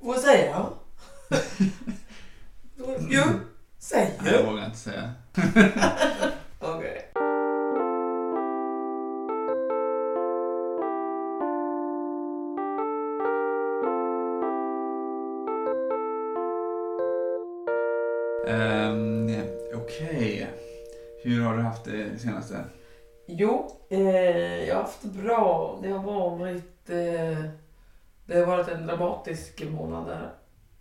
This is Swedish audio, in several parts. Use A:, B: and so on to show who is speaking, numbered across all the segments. A: Vad säger jag? jo, säg
B: Nej,
A: ju.
B: Jag vågar inte säga.
A: Okej.
B: Ehm, Okej. Hur har du haft det senaste?
A: Jo, eh, jag har haft det bra. Det har varit... Eh, det har varit en dramatisk månad där. I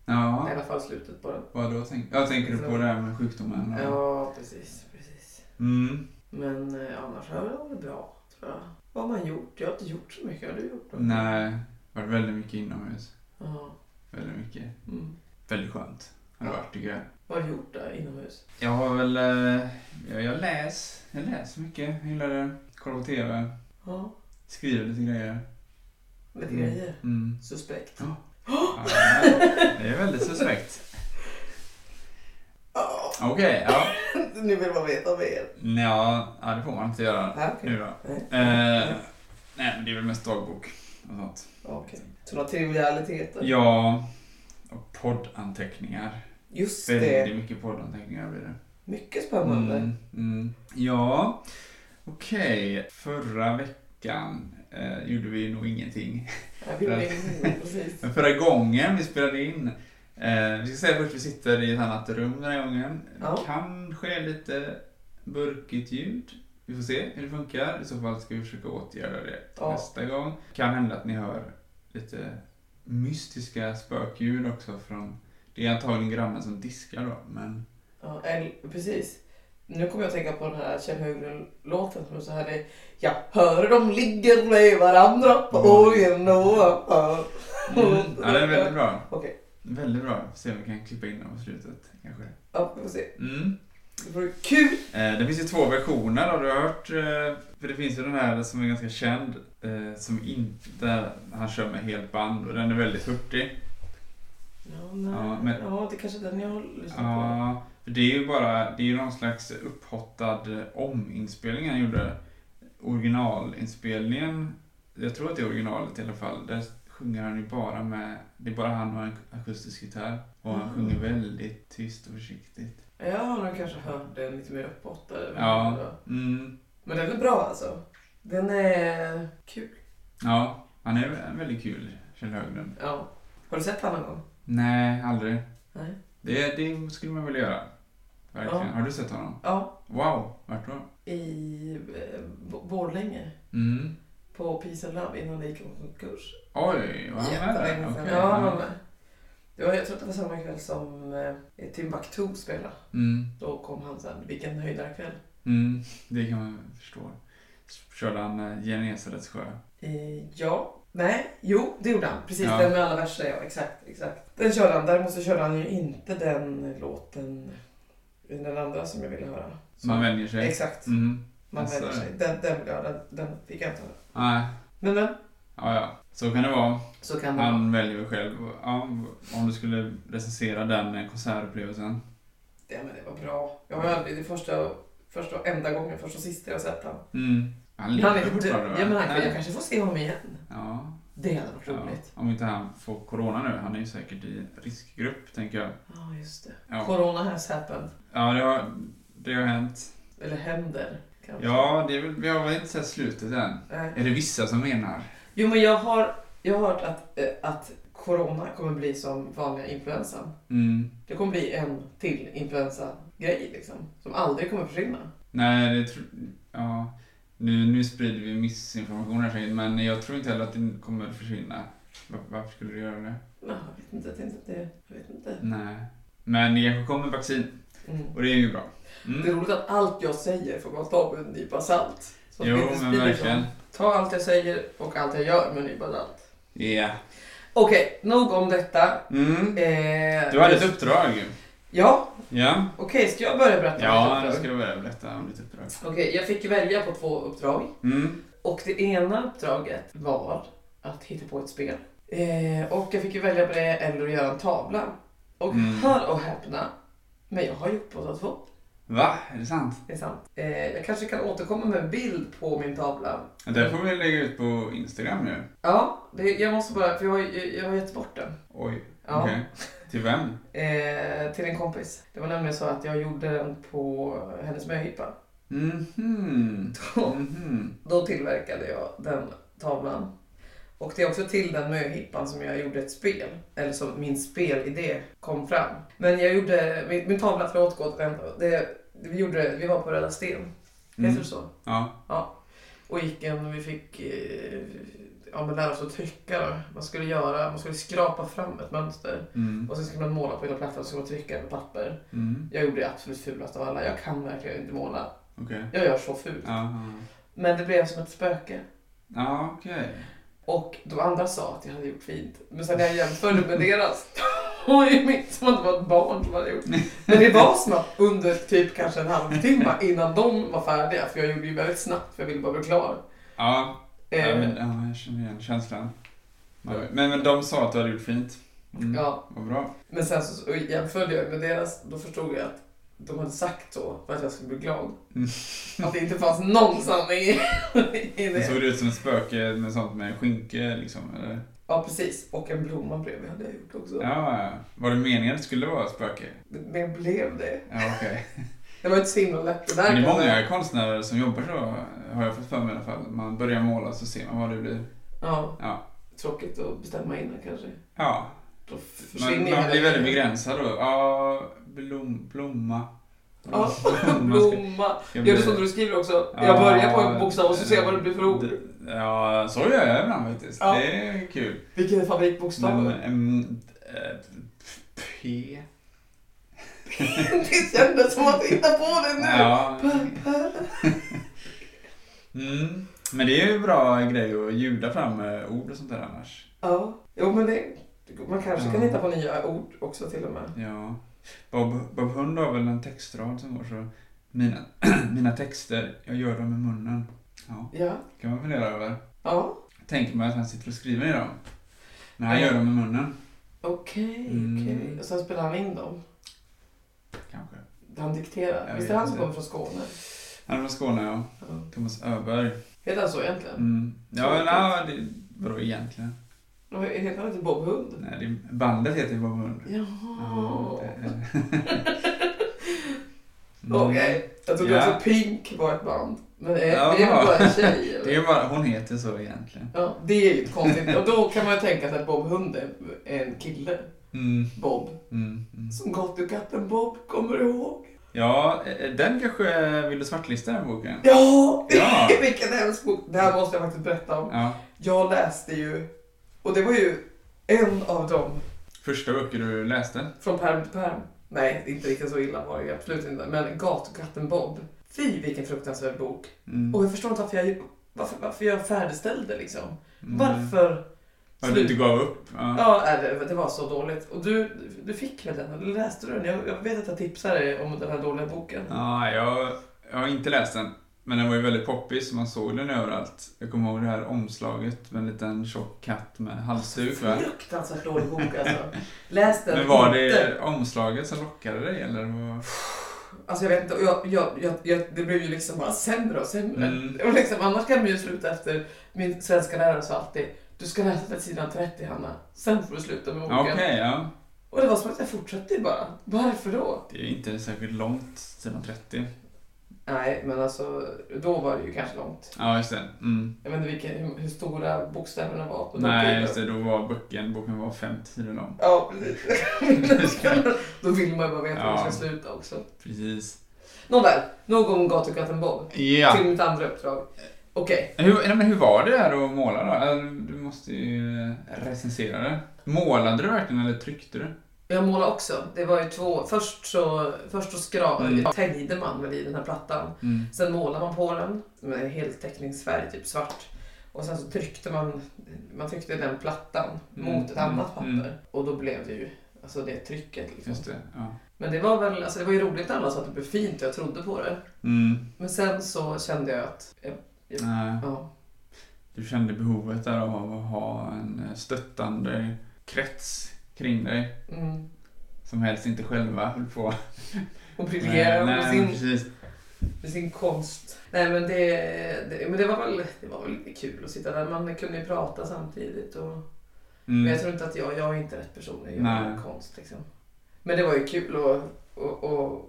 B: Ja,
A: alla fall slutet på den.
B: vad då? Tänk jag tänker du på det här med sjukdomen? och-
A: Ja, precis. precis.
B: Mm.
A: Men eh, annars har det varit bra, tror jag. Vad har man gjort? Jag har inte gjort så mycket. Har du gjort något?
B: Nej, varit väldigt mycket inomhus.
A: Ja.
B: Väldigt mycket.
A: Mm.
B: Väldigt skönt. Har det varit tycker jag.
A: Vad har du gjort där inomhus?
B: Jag har väl... eh, Jag, jag läs. Jag läser mycket. Jag gillar det. Kollar på TV.
A: Ja,
B: Skriver lite grejer.
A: lite
B: Mm.
A: grejer.
B: Mm.
A: Suspekt.
B: Ja. Ja, det är väldigt suspekt.
A: Ja,
B: Okej, ja.
A: nu vill man veta mer.
B: Nja, ja, det får man inte göra.
A: Ja, okej.
B: Nu då?
A: Nej.
B: Eh, nej, men det är väl mest dagbok och sånt.
A: Okej. Sådana trivialiteter.
B: Ja, och poddanteckningar.
A: Just det.
B: Väldigt mycket poddanteckningar blir det.
A: Mycket spännande.
B: Mm, mm. Ja, okej. Förra veckan eh, gjorde vi nog ingenting.
A: Jag vill in, precis.
B: Men förra gången vi spelade in, eh, vi ska säga först att vi sitter i ett annat rum den här gången.
A: Ja.
B: Kanske lite burkigt ljud. Vi får se hur det funkar. I så fall ska vi försöka åtgärda det
A: Ja.
B: nästa gång. Kan hända att ni hör lite mystiska spökljud också från det är antagligen grannen som diskar då, men...
A: Ja, el- precis. Nu kommer jag att tänka på den här Kjell Höglund-låten som är så här. Det är, jag hör de ligger med varandra på orgeln ovanför.
B: Mm. Ja, den är väldigt bra.
A: Okej.
B: Väldigt bra. Får se om vi kan klippa in den på slutet, kanske.
A: Ja, vi får se.
B: Mm.
A: Det vore kul.
B: Eh, Det finns ju två versioner har du hört? eh, För det finns ju den här som är ganska känd, eh, som inte, där han kör med helt band och den är väldigt hurtig.
A: Ja, nej.
B: Ja,
A: ja,
B: men-
A: det är kanske är den jag lyssnar på.
B: Ja, för det är ju bara, det är ju någon slags upphottad eh, ominspelning han gjorde. Originalinspelningen, jag tror att det är originalet i alla fall, där sjunger han ju bara med, det är bara han och en akustisk gitarr. Och han
A: Mm.
B: sjunger väldigt tyst och försiktigt.
A: Jag har nog kanske hört den lite mer uppåt. Där,
B: Ja, mm,
A: Men den är bra alltså. Den är kul.
B: ja han är väldigt kul, Kjell Höglund.
A: Ja. Har du sett den någon gång?
B: Nej, aldrig.
A: Nej.
B: Det, det skulle man vilja göra. Verkligen.
A: Ja.
B: Har du sett honom?
A: Ja,
B: Wow, vart då?
A: i eh, Bo- Borlänge.
B: Mm.
A: På Peace and Love innan det gick en konkurs.
B: Oj, var han med där?
A: Jättelänge sedan.
B: Okej, Mm.
A: Ja, han var med. Det var, jag tror att det var samma kväll som eh, Timbuktu spelade.
B: Mm.
A: Då kom han sen. Vilken höjdarkväll.
B: Mm. Det kan man förstå. Körde han eh, Genesarets sjö?
A: Eh, ja. Nej, jo det gjorde han. Precis
B: Ja.
A: den med alla verser ja. Exakt, exakt. Den körde han. Däremot så körde han ju inte den låten. Den andra som jag ville höra. Så-
B: Man vänjer sig.
A: Exakt.
B: Mm.
A: Man
B: Alltså-
A: vänjer sig. Den, den vill jag ha. Den, den fick jag inte höra.
B: Nej,
A: Men men.
B: ja, ja. Så kan det vara.
A: Så kan man.
B: Han väljer väl själv. Ja, om du skulle recensera den eh, konsertupplevelsen.
A: Ja, men det var bra. Jag var aldrig det första, första och enda gången, första och sista jag sett honom.
B: Mm. Han
A: Han
B: lever
A: är inte,
B: fortfarande va?
A: ja, men han,
B: Nej.
A: jag kanske får se honom igen.
B: Ja.
A: Det hade varit
B: ja.
A: roligt.
B: Om inte han får corona nu. Han är ju säkert i riskgrupp, tänker jag.
A: Ja, just det.
B: Ja.
A: Corona has happened.
B: Ja, det har, det har hänt.
A: Eller händer, kanske.
B: Ja, det är väl, vi har väl inte sett slutet än.
A: Nej.
B: Är det vissa som menar?
A: Jo, men jag har, jag har hört att, eh, att corona kommer bli som vanliga influensan.
B: Mm.
A: Det kommer bli en till influensa-grej liksom. Som aldrig kommer försvinna.
B: Nej, det tror... Ja. Nu, nu sprider vi missinformation här säkert, men jag tror inte heller att den kommer att försvinna. Va- Varför skulle du göra det?
A: Nej, jag vet inte. Jag tänkte att det... Jag vet inte.
B: Nej. Men det kanske kommer vaccin
A: Mm.
B: och det är ju bra. Mm.
A: Det är roligt att allt jag säger får man ta med en nypa salt. Så att
B: Jo,
A: vi inte
B: men
A: sprider
B: verkligen.
A: sånt. Ta allt jag säger och allt jag gör med en nypa salt.
B: Ja.
A: Okej, nog om detta.
B: Mm.
A: Eh,
B: Du hade ett uppdrag.
A: Ja,
B: Ja.
A: okej, ska jag börja berätta
B: Ja,
A: om
B: nu
A: mitt
B: ska
A: uppdrag?
B: du börja berätta om ditt uppdrag.
A: Okej, jag fick välja på två uppdrag.
B: Mm.
A: Och det ena uppdraget var att hitta på ett spel. Eh, och jag fick ju välja på det eller att göra en tavla. Och
B: Mm.
A: hör och häpna, men jag har gjort båda två.
B: Va? Är det sant?
A: Det är sant. Eh, jag kanske kan återkomma med en bild på min tavla
B: Det får vi lägga ut på Instagram nu.
A: Ja, det, jag måste bara, för jag har, jag har gett bort den.
B: Oj.
A: Ja. Ja.
B: Okej. Till vem?
A: Eh, till en kompis. Det var nämligen så att jag gjorde den på hennes möhippa. Mm-hmm.
B: Mhm. Mhm.
A: Då tillverkade jag den tavlan. Och det är också till den möhippan som jag gjorde ett spel. Eller som min spelidé kom fram. Men jag gjorde, min, min tavla, förlåt gå till den. Det, vi, gjorde, vi var på Röda Sten.
B: Mm.
A: Heter det så?
B: Ja.
A: Och gick en, vi fick eh, ja, men lära oss att trycka. Då. Man skulle göra, man skulle skrapa fram ett mönster.
B: Mm.
A: Och sen skulle man måla på hela plattan och så skulle man trycka med papper.
B: Mm.
A: Jag gjorde det absolut fulaste av alla. Jag kan verkligen inte måla.
B: Okej.
A: Jag gör så fult.
B: Ja.
A: Men det blev som ett spöke.
B: Ja, okej.
A: Och de andra sa att jag hade gjort fint. Men sen när jag jämförde med deras då var ju mitt som att det var ett barn som hade gjort. Men det var snabbt under typ kanske en halvtimme innan de var färdiga. För jag gjorde ju väldigt snabbt för jag ville bara bli klar.
B: Ja,
A: Eh,
B: ja, men, ja, jag känner igen känslan. Ja, Men, men de sa att du hade gjort fint. Mm.
A: ja.
B: Vad bra.
A: men sen så så jämförde jag med deras. Då förstod jag att de hade sagt så för att jag skulle bli glad.
B: Mm.
A: Att det inte fanns någon sanning i i
B: Det
A: det.
B: såg ut som ett spöke med sånt med skynke liksom, eller?
A: Ja precis. Och en blomma bredvid hade jag gjort också.
B: Ja, ja. var det meningen att det skulle vara ett spöke?
A: Men blev det.
B: Ja, okej.
A: Det var inte så himla lätt det där.
B: Men det är
A: kan jag-
B: många konstnärer som jobbar så, har jag fått för mig i alla fall. Man börjar måla så ser man vad det blir.
A: Ja.
B: Ja.
A: Tråkigt att bestämma innan kanske.
B: Ja,
A: Då
B: man,
A: försvinner
B: man
A: ju hela
B: blir väldigt
A: grejen.
B: begränsad då. Ja, blom, blomma.
A: Ja,
B: Blomma ska-
A: Blomma.
B: ska
A: Gör
B: bli-
A: du som du skriver också?
B: Ja,
A: Jag börjar på en bokstav och så ser jag vad det blir för ord.
B: d- Ja, så gör jag ibland faktiskt.
A: Ja.
B: Det är kul.
A: Vilken
B: Men,
A: favoritbokstav?
B: mm, eh, P...
A: Det kändes som att hitta på det nu.
B: Ja. Mm. Men det är ju en bra grej att ljuda fram eh, ord och sånt där annars.
A: Ja. Jo men det... Man kanske kan
B: Ja.
A: hitta på nya ord också till och med.
B: Ja. Bob, Bob Hund har väl en textrad som går så. Mina, mina texter, jag gör dem med munnen. Ja,
A: Ja.
B: kan man fundera över.
A: Ja.
B: Tänker man att han sitter och skriver i dem. Men han
A: Ja.
B: gör dem med munnen.
A: Okej,
B: Mm.
A: okej. Och sen spelar han in dem.
B: Kanske.
A: Han dikterar.
B: Jag
A: Visst
B: vet
A: är han som
B: inte.
A: kommer från Skåne?
B: Han är från Skåne, ja.
A: Ja.
B: Thomas Öberg.
A: Heter han så egentligen?
B: Mm. Ja, men ja, det, vadå egentligen?
A: Och Heter han inte Bob Hund?
B: Nej, det, bandet heter ju Bob Hund.
A: Jaha.
B: Mm.
A: Okej, jag trodde
B: Ja.
A: också Pink var ett band. Men är,
B: Ja.
A: det är väl bara en tjej?
B: Det är
A: Eller?
B: ju bara, hon heter så egentligen.
A: Ja, det är ju ett konstigt. Och då kan man ju tänka sig att Bob Hund är en kille.
B: Mm,
A: Bob.
B: mm, mm.
A: Som gatukatten Bob, kommer du ihåg?
B: Ja, eh, den kanske vill du svartlista den boken?
A: Ja!
B: Ja.
A: Vilken hemsk bok. Det här måste jag faktiskt berätta om.
B: Ja.
A: Jag läste ju, och det var ju en av dem
B: Första böcker du läste?
A: från pärm till pärm. Nej, inte riktigt så illa var det ju absolut inte. Men gatukatten Bob. Fy vilken fruktansvärd bok.
B: Mm.
A: Och jag förstår inte varför jag, varför, varför jag färdigställde liksom.
B: Mm.
A: Varför
B: Ja, du inte gav upp? Ja.
A: Ja, nej, det, det var så dåligt. Och du, du fick väl den? Eller läste du den? Jag, jag vet att jag tipsade dig om den här dåliga boken.
B: ja jag, jag har inte läst den. Men den var ju väldigt poppis, så man såg den överallt. Jag kommer ihåg det här omslaget med en liten tjock katt med halsduk va?
A: Fruktansvärt dålig bok alltså. Läs den
B: Men var
A: inte.
B: det omslaget som lockade dig eller? Vad?
A: Alltså jag vet inte, och jag, jag, jag, jag, det blev ju liksom bara sämre och sämre.
B: Mm.
A: Och liksom, annars kan man ju sluta efter, min svenska lärare sa alltid du ska läsa till sidan 30 Hanna, sen får du sluta med boken.
B: Ja, Okej, ja.
A: Och det var som att jag fortsatte bara. Varför då?
B: Det är inte särskilt långt, sidan 30.
A: Nej, men alltså då var det ju kanske långt.
B: Ja, just det. Mm.
A: Jag vet inte vilka, hur, hur stora bokstäverna var på den
B: Nej,
A: tiden.
B: just det. Då var boken, boken var 50 sidor lång.
A: Ja, precis. Då vill man ju bara veta hur det ska
B: Ja.
A: sluta också.
B: Precis.
A: Nåväl, nog om gatukatten Bob.
B: Ja.
A: Till mitt andra uppdrag. Okej,
B: Hur, nej, men hur var det där att måla då? Eller, Du måste ju eh, recensera det. Målade du verkligen eller tryckte du?
A: jag målade också. Det var ju två... Först så, först så skra...
B: Mm.
A: tängde man väl i den här plattan.
B: Mm.
A: Sen målade man på den med en heltäckningsfärg, typ svart. Och sen så tryckte man, man tryckte den plattan
B: Mm,
A: mot ett
B: mm,
A: annat papper.
B: mm.
A: Och då blev det ju alltså det trycket. Liksom.
B: Just det. Ja.
A: Men det var väl, alltså det var ju roligt när alla sa att det blev fint och jag trodde på det.
B: Mm.
A: Men sen så kände jag att, eh,
B: Nej,
A: ja,
B: du kände behovet där av att ha en eh, stöttande krets kring dig.
A: mm,
B: Som helst inte själva höll på.
A: och briljera med
B: Nej, men
A: sin,
B: precis.
A: med sin konst. Nej men det, det, men det, var väl, det var väl lite kul att sitta där. Man kunde ju prata samtidigt och
B: Mm.
A: Men jag tror inte att jag, jag är inte rätt person att göra
B: Nej.
A: konst. Liksom. Men det var ju kul att, att, att,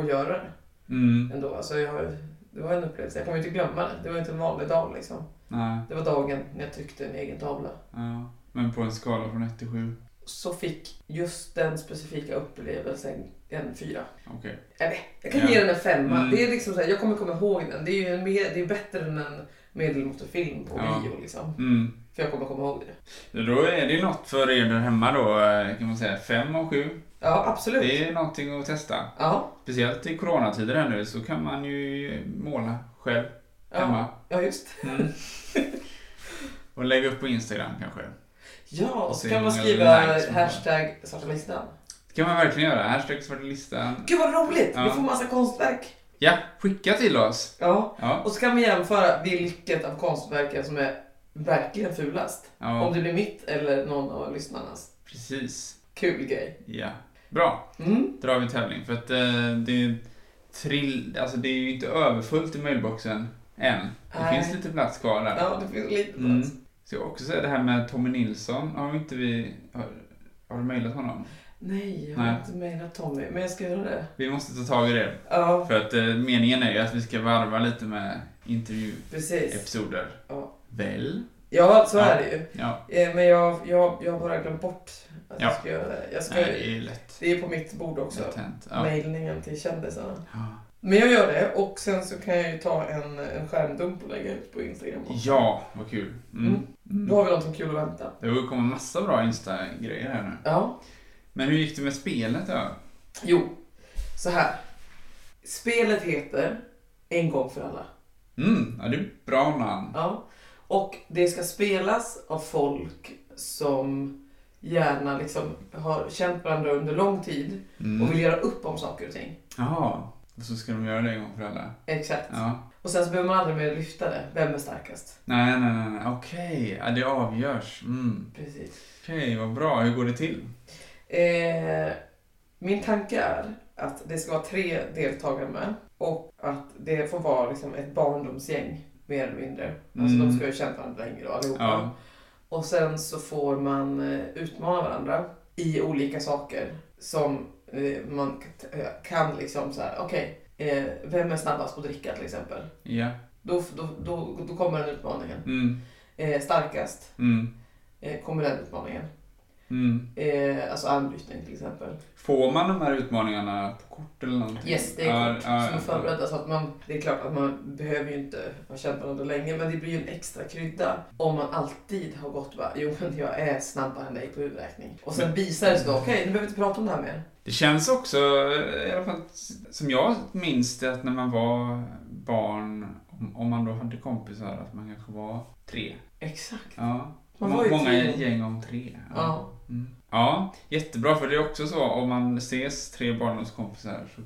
A: att göra det
B: Mm.
A: ändå. Alltså jag, det var en upplevelse. Jag kommer inte glömma det. Det var inte en vanlig dag liksom.
B: Nej.
A: Det var dagen när jag tryckte en egen tavla.
B: Ja. Men på en skala från 1 till 7.
A: Så fick just den specifika upplevelsen en fyra.
B: Okej.
A: Jag kan
B: Ja.
A: ge den en femma.
B: Mm.
A: Det är liksom så här, jag kommer komma ihåg den. Det är ju en mer, det är bättre än en medelmåttorfilm på
B: Ja.
A: bio. Liksom.
B: Mm.
A: För jag kommer komma ihåg det.
B: Då är det något för er där hemma då, eh, kan man säga. 5 och 7.
A: Ja, absolut.
B: Det är någonting att testa.
A: Ja,
B: Speciellt i coronatider här nu så kan man ju måla själv
A: ja.
B: hemma.
A: ja, just det.
B: Mm. Och lägga upp på Instagram kanske.
A: Ja, och så
B: Se
A: kan man
B: hur många
A: skriva
B: likes man får.
A: hashtag svarta listan.
B: Det kan man verkligen göra. Hashtag svarta listan.
A: Gud vad roligt! Vi
B: Ja.
A: får massa konstverk.
B: Ja, skicka till oss.
A: Ja.
B: Ja.
A: Och så kan vi jämföra vilket av konstverken som är verkligen fulast. Om
B: ja,
A: det blir mitt eller någon av lyssnarnas.
B: precis.
A: Kul grej.
B: Ja. Bra.
A: Mm.
B: Drar vi tävling. För att eh, det är trill... Alltså det är ju inte överfullt i mailboxen än. Det
A: Nej.
B: finns lite plats kvar där.
A: Ja, det finns lite plats.
B: Mm. Så jag också säga det här med Tommy Nilsson. Har inte vi... Har, har du mejlat honom?
A: Nej, jag har
B: Nej.
A: inte mejlat Tommy, men jag ska göra det.
B: Vi måste ta tag i det.
A: Ja,
B: För att eh, meningen är ju att vi ska varva lite med intervjuepisoder.
A: precis. Ja.
B: Väl?
A: Ja, så
B: Ja.
A: är det ju.
B: Ja.
A: Eh, Men jag, jag, jag har bara glömt bort att
B: Ja.
A: jag ska göra det. Jag ska,
B: Nej, det är lätt.
A: det är på mitt bord också.
B: Lätt hänt. Ja.
A: Mejlningen till kändisarna.
B: Ja.
A: Men jag gör det och sen så kan jag ju ta en, en skärmdump och lägga ut på Instagram. också.
B: ja, vad kul. Mm.
A: Mm. Då har
B: Mm.
A: vi någonting kul att vänta.
B: Det kommer massa bra Insta-grejer här nu.
A: Ja.
B: Men hur gick det med spelet då?
A: Jo, så här. Spelet heter En gång för alla.
B: Mm, ja, det är bra namn.
A: Ja. Och det ska spelas av folk som gärna liksom har känt varandra under lång tid och vill
B: Mm.
A: göra upp om saker och ting.
B: Jaha, och så ska de göra det en gång för alla.
A: Exakt.
B: Ja.
A: Och sen så behöver man aldrig mer lyfta det. Vem är starkast?
B: Nej, nej, nej, nej. okej. Ja, det avgörs. Mm.
A: Precis.
B: Okej, vad bra. Hur går det till?
A: Eh, min tanke är att det ska vara tre deltagare med och att det får vara liksom ett barndomsgäng mer eller mindre. Alltså
B: Mm.
A: de ska ju känt varandra länge då allihopa.
B: Ja.
A: Och sen så får man eh, utmana varandra i olika saker som eh, man k- eh, kan liksom så här, okej, eh, vem är snabbast på att dricka till exempel?
B: Ja.
A: Då, då, då, då kommer den utmaningen.
B: Mm.
A: Eh, starkast
B: Mm.
A: eh, kommer den utmaningen.
B: Mm.
A: Eh, alltså armbrytning till exempel.
B: Får man de här utmaningarna på kort eller någonting?
A: Yes, det är kort.
B: Ja, ja,
A: som är
B: ja.
A: förberett. Alltså att man, det är klart att man behöver ju inte ha känt varandra länge, men det blir ju en extra krydda om man alltid har gått bara, jo men jag är snabbare än dig på huvudräkning. Och sen visar det sig då, okej, nu behöver vi inte prata om det här mer.
B: Det känns också, i alla fall som jag minns det, att när man var barn, om- om man då hade kompisar, att man kanske var tre.
A: Exakt.
B: Ja.
A: Man
B: Må-
A: var ju
B: Många
A: tre.
B: gäng om tre.
A: Ja.
B: Mm. ja, jättebra. För det är också så, om man ses tre barndomskompisar så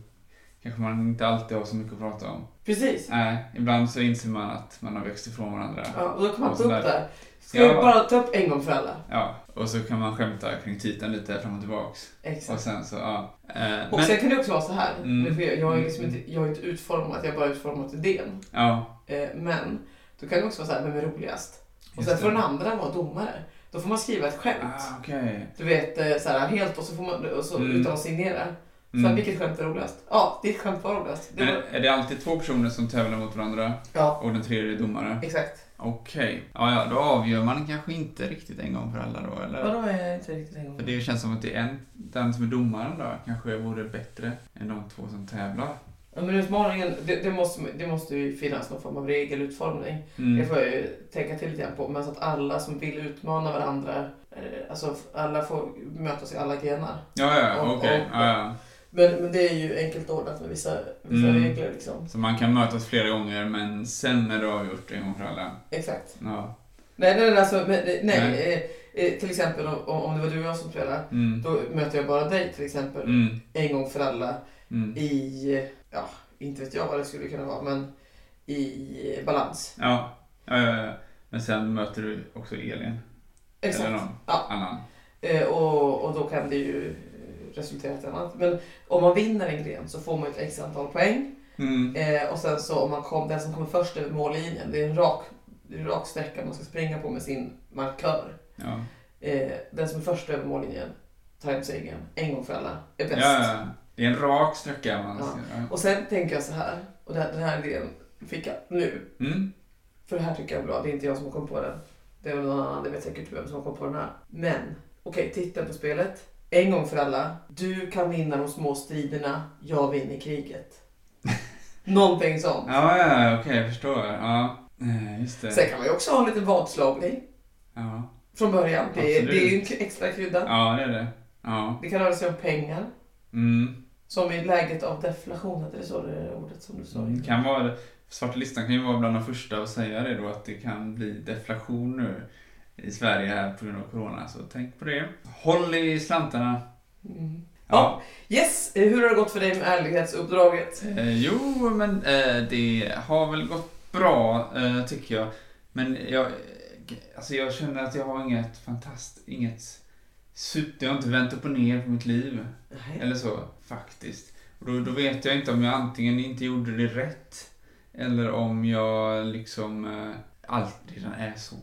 B: kanske man inte alltid har så mycket att prata om.
A: Precis.
B: Nej, ibland så inser man att man har växt ifrån varandra.
A: Ja, och då kan man
B: Och
A: ta upp
B: sådär.
A: det här. Ska
B: Ja.
A: vi bara ta upp en gång för alla?
B: Ja, och så kan man skämta kring titeln lite fram och tillbaks. Och
A: Exakt.
B: sen så, ja. Eh,
A: Och
B: men,
A: sen kan det också vara så här,
B: Mm.
A: nu får jag, jag, är liksom inte, jag har inte utformat, jag har bara utformat idén.
B: ja.
A: Eh, men då kan det också vara så här, vem är roligast? Och sen
B: just
A: får
B: det.
A: den andra vara domare. Då får man skriva ett skämt.
B: Ah, okej.
A: Du vet, eh, så här, helt och så får man, och så,
B: Mm.
A: utan att signera. Så här,
B: Mm.
A: vilket skämt är roligast? Ja, ditt skämt var roligast. Det
B: Men
A: var...
B: är det alltid två personer som tävlar mot varandra
A: Ja,
B: och den tredje är domare?
A: exakt.
B: Okej. Ja, ja, då avgör man kanske inte riktigt en gång för alla då, eller?
A: Vadå är jag inte riktigt en gång?
B: För det känns som att det är en, den som är domaren då kanske vore bättre än de två som tävlar.
A: Ja, men utmaningen, det, det, måste, det måste ju finnas någon form av regelutformning.
B: Mm.
A: Det får jag ju tänka till lite grann på. Men så att alla som vill utmana varandra, eh, alltså alla får mötas i alla grenar.
B: Ja, ja,
A: Och-
B: okej.
A: och-
B: Ja, ja.
A: Men, men det är ju enkelt ordnat med vissa, vissa
B: Mm.
A: regler liksom.
B: Så man kan mötas flera gånger, men sen är det avgjort en gång för alla.
A: Exakt.
B: Ja.
A: Nej, nej, nej, alltså, men, nej,
B: Nej.
A: nej. Eh, eh, till exempel om, om det var du och jag som spelade,
B: Mm.
A: då möter jag bara dig till exempel
B: Mm.
A: en gång för alla
B: Mm.
A: i, eh, ja, inte vet jag vad det skulle kunna vara, men i eh, balans.
B: Ja, ja, ja, ja. men sen möter du också Elin.
A: Exakt.
B: Eller någon
A: Ja.
B: annan.
A: Eh, och, och då kan det ju eh, resultera i ett annat. Men om man vinner en gren så får man ett x antal poäng.
B: Mm.
A: Eh, och sen så om man kom, den som kommer först över mållinjen, det är en rak, det är en rak sträcka man ska springa på med sin markör.
B: Ja.
A: eh, den som är först över mållinjen tar hem segern en gång för alla. Är bäst.
B: Ja, ja. Det är en rak sträcka man
A: Ja.
B: ska göra.
A: Och sen tänker jag så här, och den här, den här idén fick jag nu.
B: Mm.
A: För det här tycker jag är bra, det är inte jag som kom på den. Det är väl någon annan, det vet säkert vem som kom på den här. Men, okej, titta på spelet. En gång för alla. Du kan vinna de små striderna, jag vinner kriget. Någonting sånt.
B: Ja, ja, ja, okej, jag förstår. Ja, Eh, just det.
A: Sen kan man ju också ha lite vadslagning
B: Ja.
A: från början. Det, är-
B: Absolut.
A: det är ju en k- extra krydda.
B: ja, det är det. Ja.
A: Det kan röra sig om pengar.
B: Mm.
A: Som i läget av deflation, hette det så det ordet som du sa?
B: Det Mm, kan vara det. Svarta listan kan ju vara bland de första att säga det då att det kan bli deflation nu i Sverige här på grund av Corona. Så tänk på det. Håll i slantarna.
A: Mm. Ja. Yes, eh, hur har det gått för dig med ärlighetsuppdraget?
B: Eh, jo, men eh, det har väl gått bra eh, tycker jag. Men jag, eh, alltså jag känner att jag har inget fantastiskt, inget super, jag har inte vänt upp och ner på mitt liv.
A: Nej.
B: Eller så, faktiskt. Och då, då vet jag inte om jag antingen inte gjorde det rätt eller om jag liksom eh, alltid redan är så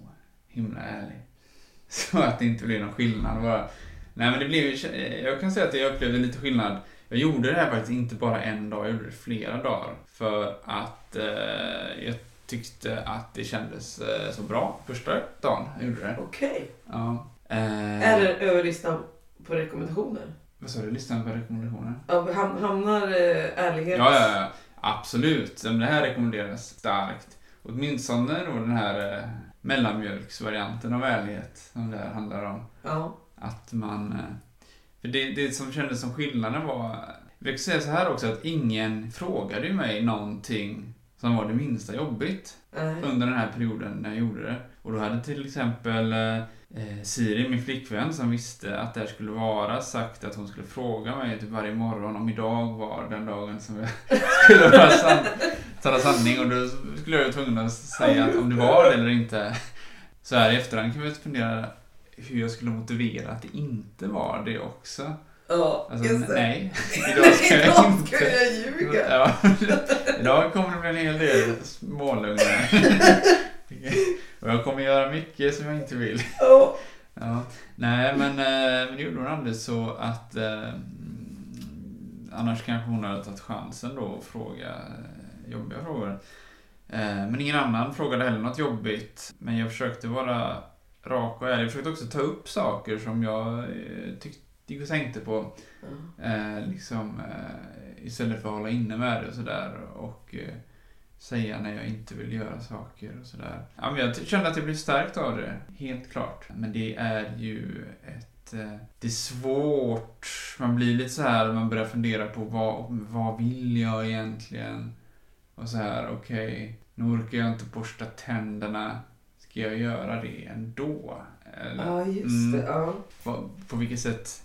B: himla ärlig. Så att det inte blir någon skillnad bara. Nej men det blev ju, jag kan säga att jag upplevde lite skillnad. Jag gjorde det här faktiskt inte bara en dag, jag gjorde det flera dagar. För att eh, jag tyckte att det kändes eh, så bra första dagen jag gjorde det.
A: Okej.
B: Ja. Eh,
A: Är det över listan på rekommendationer?
B: Vad sa du? Lyssna på rekommendationer?
A: Ja, ham- Hamnar eh, ärlighet...
B: Ja, ja, ja. Absolut. Men Det här rekommenderas starkt. Åtminstone då den här eh, mellanmjölksvarianten av ärlighet som det här handlar om.
A: Ja.
B: Att man... Eh, för det, det som kändes som skillnaden var... Jag kan säga så här också att ingen frågade ju mig någonting som var det minsta jobbigt
A: Nej.
B: under den här perioden när jag gjorde det. Och då hade till exempel eh, eh, Siri, min flickvän, som visste att det här skulle vara, sagt att hon skulle fråga mig typ varje morgon om idag var den dagen som jag skulle vara san- tala sanning. Och då skulle jag vara tvungen att säga att om det var det eller inte. Så här i efterhand kan vi fundera hur jag skulle motivera att det inte var det också.
A: Ja,
B: Alltså,
A: just det.
B: nej. Idag ska jag
A: Idag ska
B: inte.
A: jag ljuga.
B: Ja, idag kommer det bli en hel del smålugnar. Och jag kommer göra mycket som jag inte vill.
A: Ja.
B: Ja. Nej, men, eh, men det gjorde hon aldrig så att eh, mm, annars kanske hon hade tagit chansen då och fråga eh, jobbiga frågor. Eh, men ingen annan frågade heller något jobbigt. Men jag försökte vara rak och ärlig. Jag försökte också ta upp saker som jag eh, tyckte gick och tänkte på.
A: Ja.
B: Eh, liksom, eh, istället för att hålla inne med det och sådär. Och eh, säga när jag inte vill göra saker och sådär. Ja, men jag ty- kände att jag blev stärkt av det, helt klart. Men det är ju ett... Eh, det är svårt. Man blir lite så här man börjar fundera på vad, vad vill jag egentligen? Och så här, okej, nu orkar jag inte borsta tänderna. Ska jag göra det ändå? Eller,
A: Ja, just
B: Mm.
A: det. Ja.
B: på, på vilket sätt?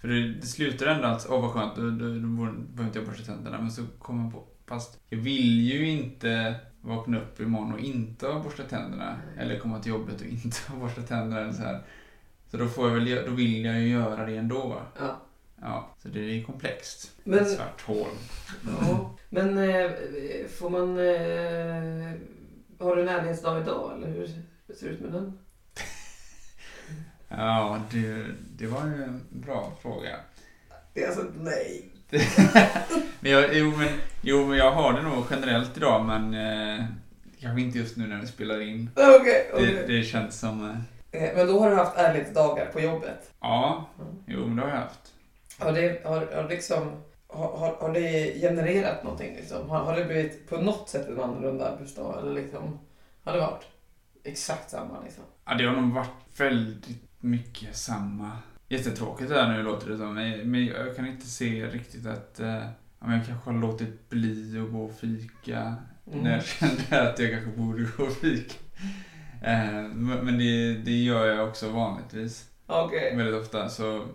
B: För det, det slutar ändå att, åh vad skönt, då, då, då borde- behöver inte jag borsta tänderna. Men så kommer man på, fast jag vill ju inte vakna upp imorgon och inte ha borstat tänderna. Eller komma till jobbet och inte ha borstat tänderna. Eller så, här. så då, får jag väl, gö- då vill jag ju göra det ändå.
A: Ja.
B: Ja, så det är komplext.
A: Men-
B: Ett svart hål.
A: Ja. Men eh, får man... Eh, har du en ärlighetsdag idag eller hur ser det ut med den?
B: Ja, det, det var ju en bra fråga.
A: Det är alltså nej.
B: Men jag, jo, men, jo, men jag har det nog generellt idag, men eh, kanske inte just nu när vi spelar in.
A: Okej, okej.
B: Det, det känns som... eh,
A: Eh, Men då har du haft ärlighetsdagar på jobbet?
B: Ja,
A: Mm.
B: jo men det har jag haft.
A: Har det, har, har liksom, har, har- har det genererat någonting? Liksom? Har, har det blivit på något sätt en annorlunda arbetsdag? Eller liksom, har det varit exakt samma? Liksom?
B: Ja, det har nog varit väldigt mycket samma. Jättetråkigt det här nu låter det som, men men jag kan inte se riktigt att eh, ja, men jag kanske har låtit bli att gå och fika
A: Mm.
B: när jag kände att jag kanske borde gå och fika. Eh, men men det, det gör jag också vanligtvis.
A: Okej.
B: Väldigt ofta, så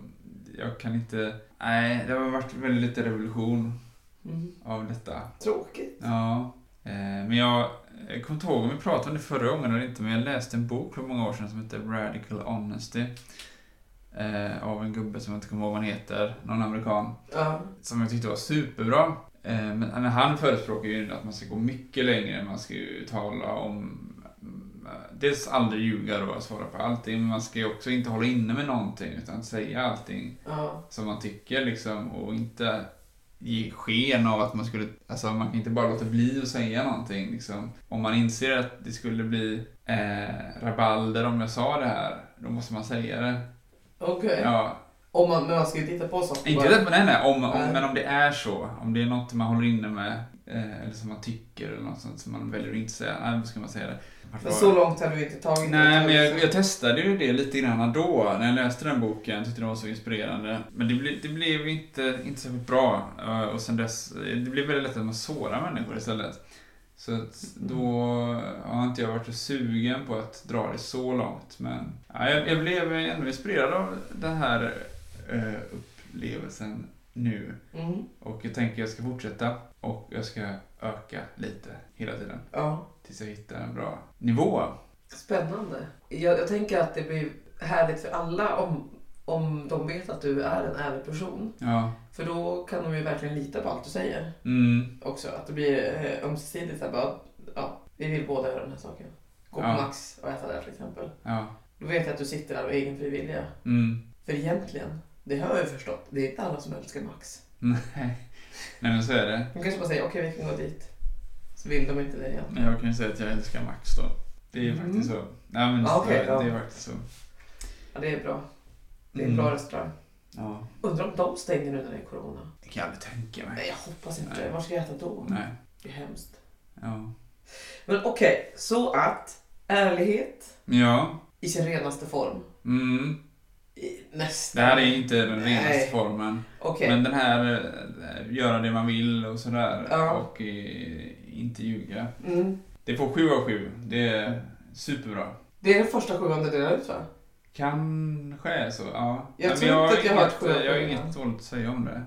B: jag kan inte... Nej, det har varit väldigt lite revolution
A: Mm.
B: av detta.
A: Tråkigt.
B: Ja. Eh, Men jag, jag kommer inte ihåg om vi pratade om det förra gången eller inte, men jag läste en bok för många år sedan som heter Radical Honesty. eh, Av en gubbe som jag inte kommer ihåg vad han heter, någon amerikan.
A: Ja.
B: Som jag tyckte var superbra. Eh, Men men han förespråkar ju att man ska gå mycket längre. Man ska ju tala om eh, dels aldrig ljuga då och svara på allting. Men man ska ju också inte hålla inne med någonting utan säga allting
A: Ja.
B: som man tycker liksom och inte ge sken av att man skulle, alltså man kan inte bara låta bli att säga någonting liksom. Om man inser att det skulle bli eh, rabalder om jag sa det här, då måste man säga det.
A: Okej.
B: Ja,
A: Om man, men man ska ju titta på saker.
B: inte
A: bara.
B: att man, nej, nej, om, om,
A: Nej.
B: men om det är så, om det är något man håller inne med eh, eller som man tycker eller något sånt som man väljer att inte säga, nej, då ska man säga det. Varför
A: Men
B: var-
A: så långt har du inte tagit
B: Nej, men jag, jag testade ju det lite grann då, när jag läste den boken. Tyckte den var så inspirerande. Men det, ble, det blev inte, inte särskilt bra. Eh, Och sen dess, det blev väldigt lätt att man sårar människor istället. Så att då har inte jag varit så sugen på att dra det så långt. Men ja, jag, jag blev ändå inspirerad av den här eh, upplevelsen nu.
A: Mm.
B: Och jag tänker jag ska fortsätta. Och jag ska öka lite hela tiden.
A: Ja.
B: Tills jag hittar en bra nivå.
A: Spännande. Jag, jag tänker att det blir härligt för alla om, om de vet att du är en ärlig person.
B: Ja.
A: För då kan de ju verkligen lita på allt du säger.
B: Mm.
A: Också att det blir eh, ömsesidigt. Så här, bara, ja, vi vill båda göra den här saken. Gå på
B: Ja.
A: Max och äta där till exempel.
B: Ja.
A: Då vet jag att du sitter där av egen fri vilja.
B: Mm.
A: För egentligen, det har jag ju förstått, det är inte alla som älskar Max.
B: Nej. Nej, men så är det.
A: De kanske bara säger okej vi kan gå dit. Så vill de inte det igen.
B: Men Jag kan ju säga att jag älskar Max då. Det är ju
A: Mm.
B: faktiskt så. Nej, men
A: Ja, okej,
B: det, det är
A: ja.
B: faktiskt så.
A: Ja, det är bra. Det är en
B: Mm.
A: bra restaurang.
B: Ja.
A: Undrar om de stänger nu när det är corona?
B: Det kan jag aldrig tänka mig.
A: Nej, jag hoppas inte
B: Nej.
A: det. Var ska jag äta då?
B: Nej.
A: Det är hemskt.
B: Ja.
A: Men okej, så att ärlighet
B: Ja.
A: i sin renaste form.
B: Mm.
A: I, nästan.
B: Det här är inte den
A: Nej.
B: renaste formen.
A: Okej,
B: Men den här eh, göra det man vill och sådär.
A: Ja.
B: Och eh, inte ljuga.
A: mm.
B: Det får 7 av 7. Det är superbra.
A: det är den första sjuan du delar ut va?
B: Kanske är så, ja.
A: Jag
B: men
A: tror inte
B: har
A: att jag har
B: inget-
A: hört sju
B: Jag har
A: av sju.
B: inget dåligt att säga om det.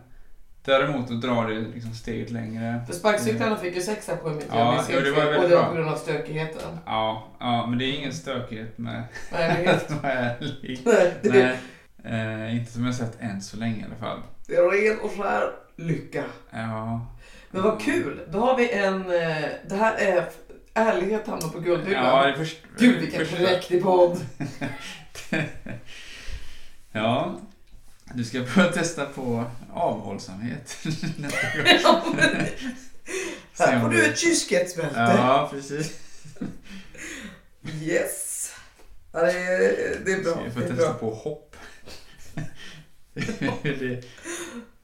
B: Däremot att dra det liksom steget längre.
A: För sparkcyklarna fick ju sex av sju mitt
B: Mm. Ja,
A: jag minns
B: jo, det var
A: inte fel.
B: väldigt
A: Och det var
B: bra.
A: på grund av stökigheten.
B: Ja, ja men det är ingen stökighet med
A: Nej,
B: att vara ärlig.
A: det, det,
B: Nej, eh, inte som jag sett än så länge i alla fall.
A: det är ren och skär lycka.
B: Ja.
A: Men vad
B: Mm.
A: kul! Då har vi en... eh, Det här är... Ärlighet hamnar på guldhyllan.
B: Ja, det är först,
A: Gud vilken
B: första-
A: präktig podd!
B: ja. Du ska börja testa på avhållsamhet nästa gång.
A: Här får du ett kyskhetsbälte.
B: Ja, precis.
A: Yes! Ja, det, är, det är bra.
B: Jag får
A: Det är
B: testa
A: bra.
B: på hopp. det är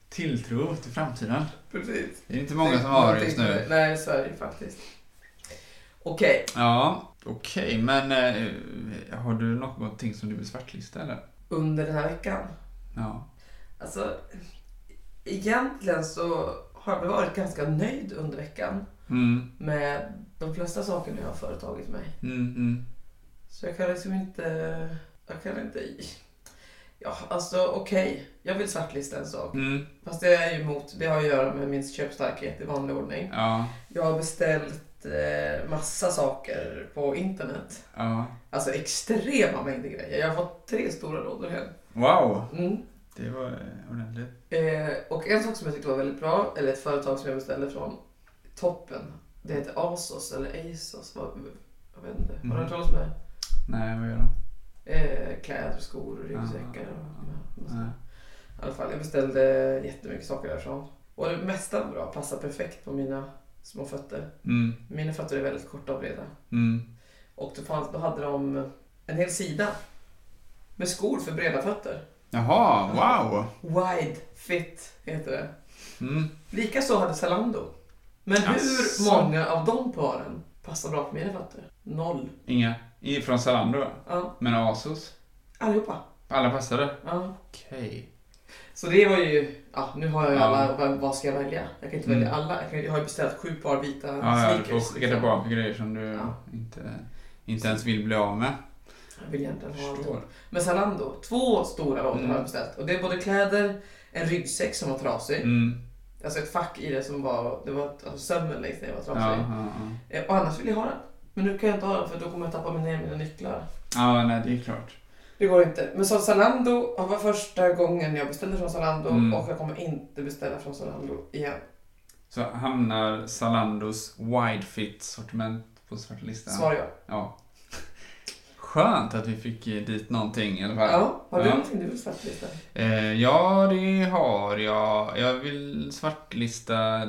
B: tilltro till framtiden.
A: Precis.
B: Det är inte många som har det just nu.
A: Nej, så är det ju faktiskt. Okej.
B: Ja, okej, men eh, har du någonting som du vill svartlista eller?
A: Under den här veckan.
B: Ja.
A: Alltså, egentligen så har jag varit ganska nöjd under veckan
B: Mm,
A: med de flesta sakerna jag har företagit mig.
B: mm, mm.
A: Så jag kan liksom inte... Jag kan inte... Ja, alltså okej. Jag vill svartlista en sak.
B: mm.
A: Fast det är ju emot. Det har att göra med min köpstarkhet i vanlig ordning.
B: Ja,
A: Jag har beställt eh, massa saker på internet.
B: ja.
A: Alltså extrema mängder grejer. Jag har fått tre stora lådor hem.
B: Wow!
A: Mm.
B: Det var eh, ordentligt.
A: Eh, och en sak som jag tyckte var väldigt bra, eller ett företag som jag beställde från, toppen. Det heter Asos eller Asos. Vad, jag vet inte. Har du hört talas om det?
B: Nej, vad gör de?
A: Eh, kläder, skor och ryggsäckar. Och, och,
B: Nej.
A: I alla fall, jag beställde jättemycket saker därifrån. Och det mesta var bra, passar perfekt på mina små fötter.
B: Mm,
A: Mina fötter är väldigt korta och breda.
B: mm.
A: Och då, fanns, då hade de en hel sida med skor för breda fötter.
B: Jaha, wow!
A: Wide fit heter det.
B: Mm.
A: Likaså hade Zalando. Men hur
B: Asså.
A: många av de paren passar bra på mina fötter? Noll.
B: Inga. I- Från Zalando?
A: Ja,
B: Men Asos?
A: allihopa.
B: Alla passade?
A: Ja.
B: Okej.
A: Så det var ju, ja, nu har jag ju
B: Ja.
A: alla, vad- vad ska jag välja? Jag kan inte
B: Mm.
A: välja alla. Jag, kan, jag har ju beställt sju par vita
B: Ja, ja, du
A: sneakers.
B: får skicka
A: liksom.
B: tillbaka grejer som du
A: Ja.
B: inte, inte ens vill bli av med.
A: Jag vill egentligen ha allt.
B: Förstår.
A: Men Zalando, två stora lådor
B: Mm.
A: har jag beställt. Och det är både kläder, en ryggsäck som var trasig,
B: Mm.
A: alltså ett fack i det som var, det var alltså sömmen längst ner var
B: Ja,
A: trasig.
B: ja, ja.
A: Eh, Och annars vill jag ha den. Men nu kan jag inte ha den för då kommer jag tappa ner mina nycklar.
B: ja, nej det är klart.
A: Det går inte. Men så Zalando ja, var första gången jag beställde från Zalando
B: Mm.
A: och jag kommer inte beställa från Zalando igen.
B: Så hamnar Zalandos wide fit sortiment på svarta listan?
A: Svar ja.
B: Ja. skönt att vi fick eh, dit någonting i alla fall.
A: Ja, har du
B: Ja.
A: någonting du vill svartlista?
B: Eh, ja, det har jag. Jag vill svartlista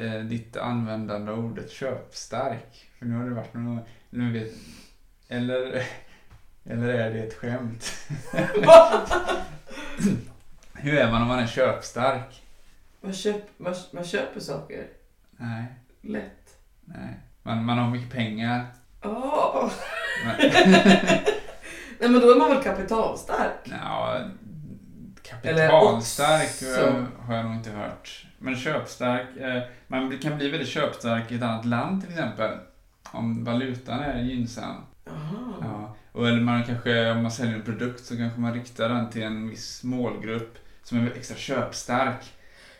B: eh, ditt användande av ordet köpstark. För nu har det varit någon... Nu vet, eller, eller är det ett skämt? Hur är man om man är köpstark?
A: Man, köp, man, man köper saker
B: Nej,
A: lätt.
B: nej. Man, man har mycket pengar.
A: Oh.
B: Man,
A: Nej men då är man väl kapitalstark?
B: Nja,
A: Eller
B: kapitalstark
A: också-
B: eh, har jag nog inte hört. Men köpstark, eh, man kan bli väldigt köpstark i ett annat land till exempel. Om valutan är gynnsam.
A: Mm. Jaha.
B: Ja. Och eller man kanske, om man säljer en produkt så kanske man riktar den till en viss målgrupp som är extra köpstark.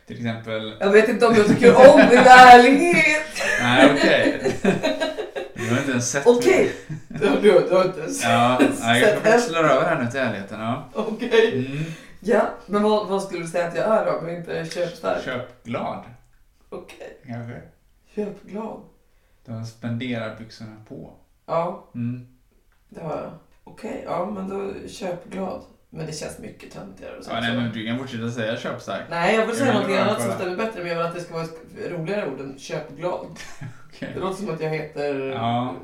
B: Till exempel...
A: Jag vet inte om jag tycker om din ärlighet.
B: Nej, okej. Du har inte ens sett mig.
A: Okej. Du, du, du har inte ens...
B: Ja, nej, jag
A: Sett
B: kanske växlar över här nu till ärligheten. Ja.
A: Okej.
B: Mm.
A: Ja, men vad, vad skulle du säga att jag är då om jag inte är köpstark?
B: Köpglad,
A: Okej.
B: kanske.
A: Köpglad.
B: Du har spenderarbyxorna på.
A: Ja,
B: Mm.
A: det har jag. Okej, ja men då köpglad. Men det känns mycket töntigare och så.
B: Ja, nej, men du kan fortsätta säga köpstark.
A: Nej, jag vill säga
B: Jag vill
A: något
B: bara
A: annat som
B: kolla.
A: stämmer bättre, men jag vill att det ska vara ett roligare ord än köpglad.
B: Okej.
A: Det låter som att jag heter...
B: Ja.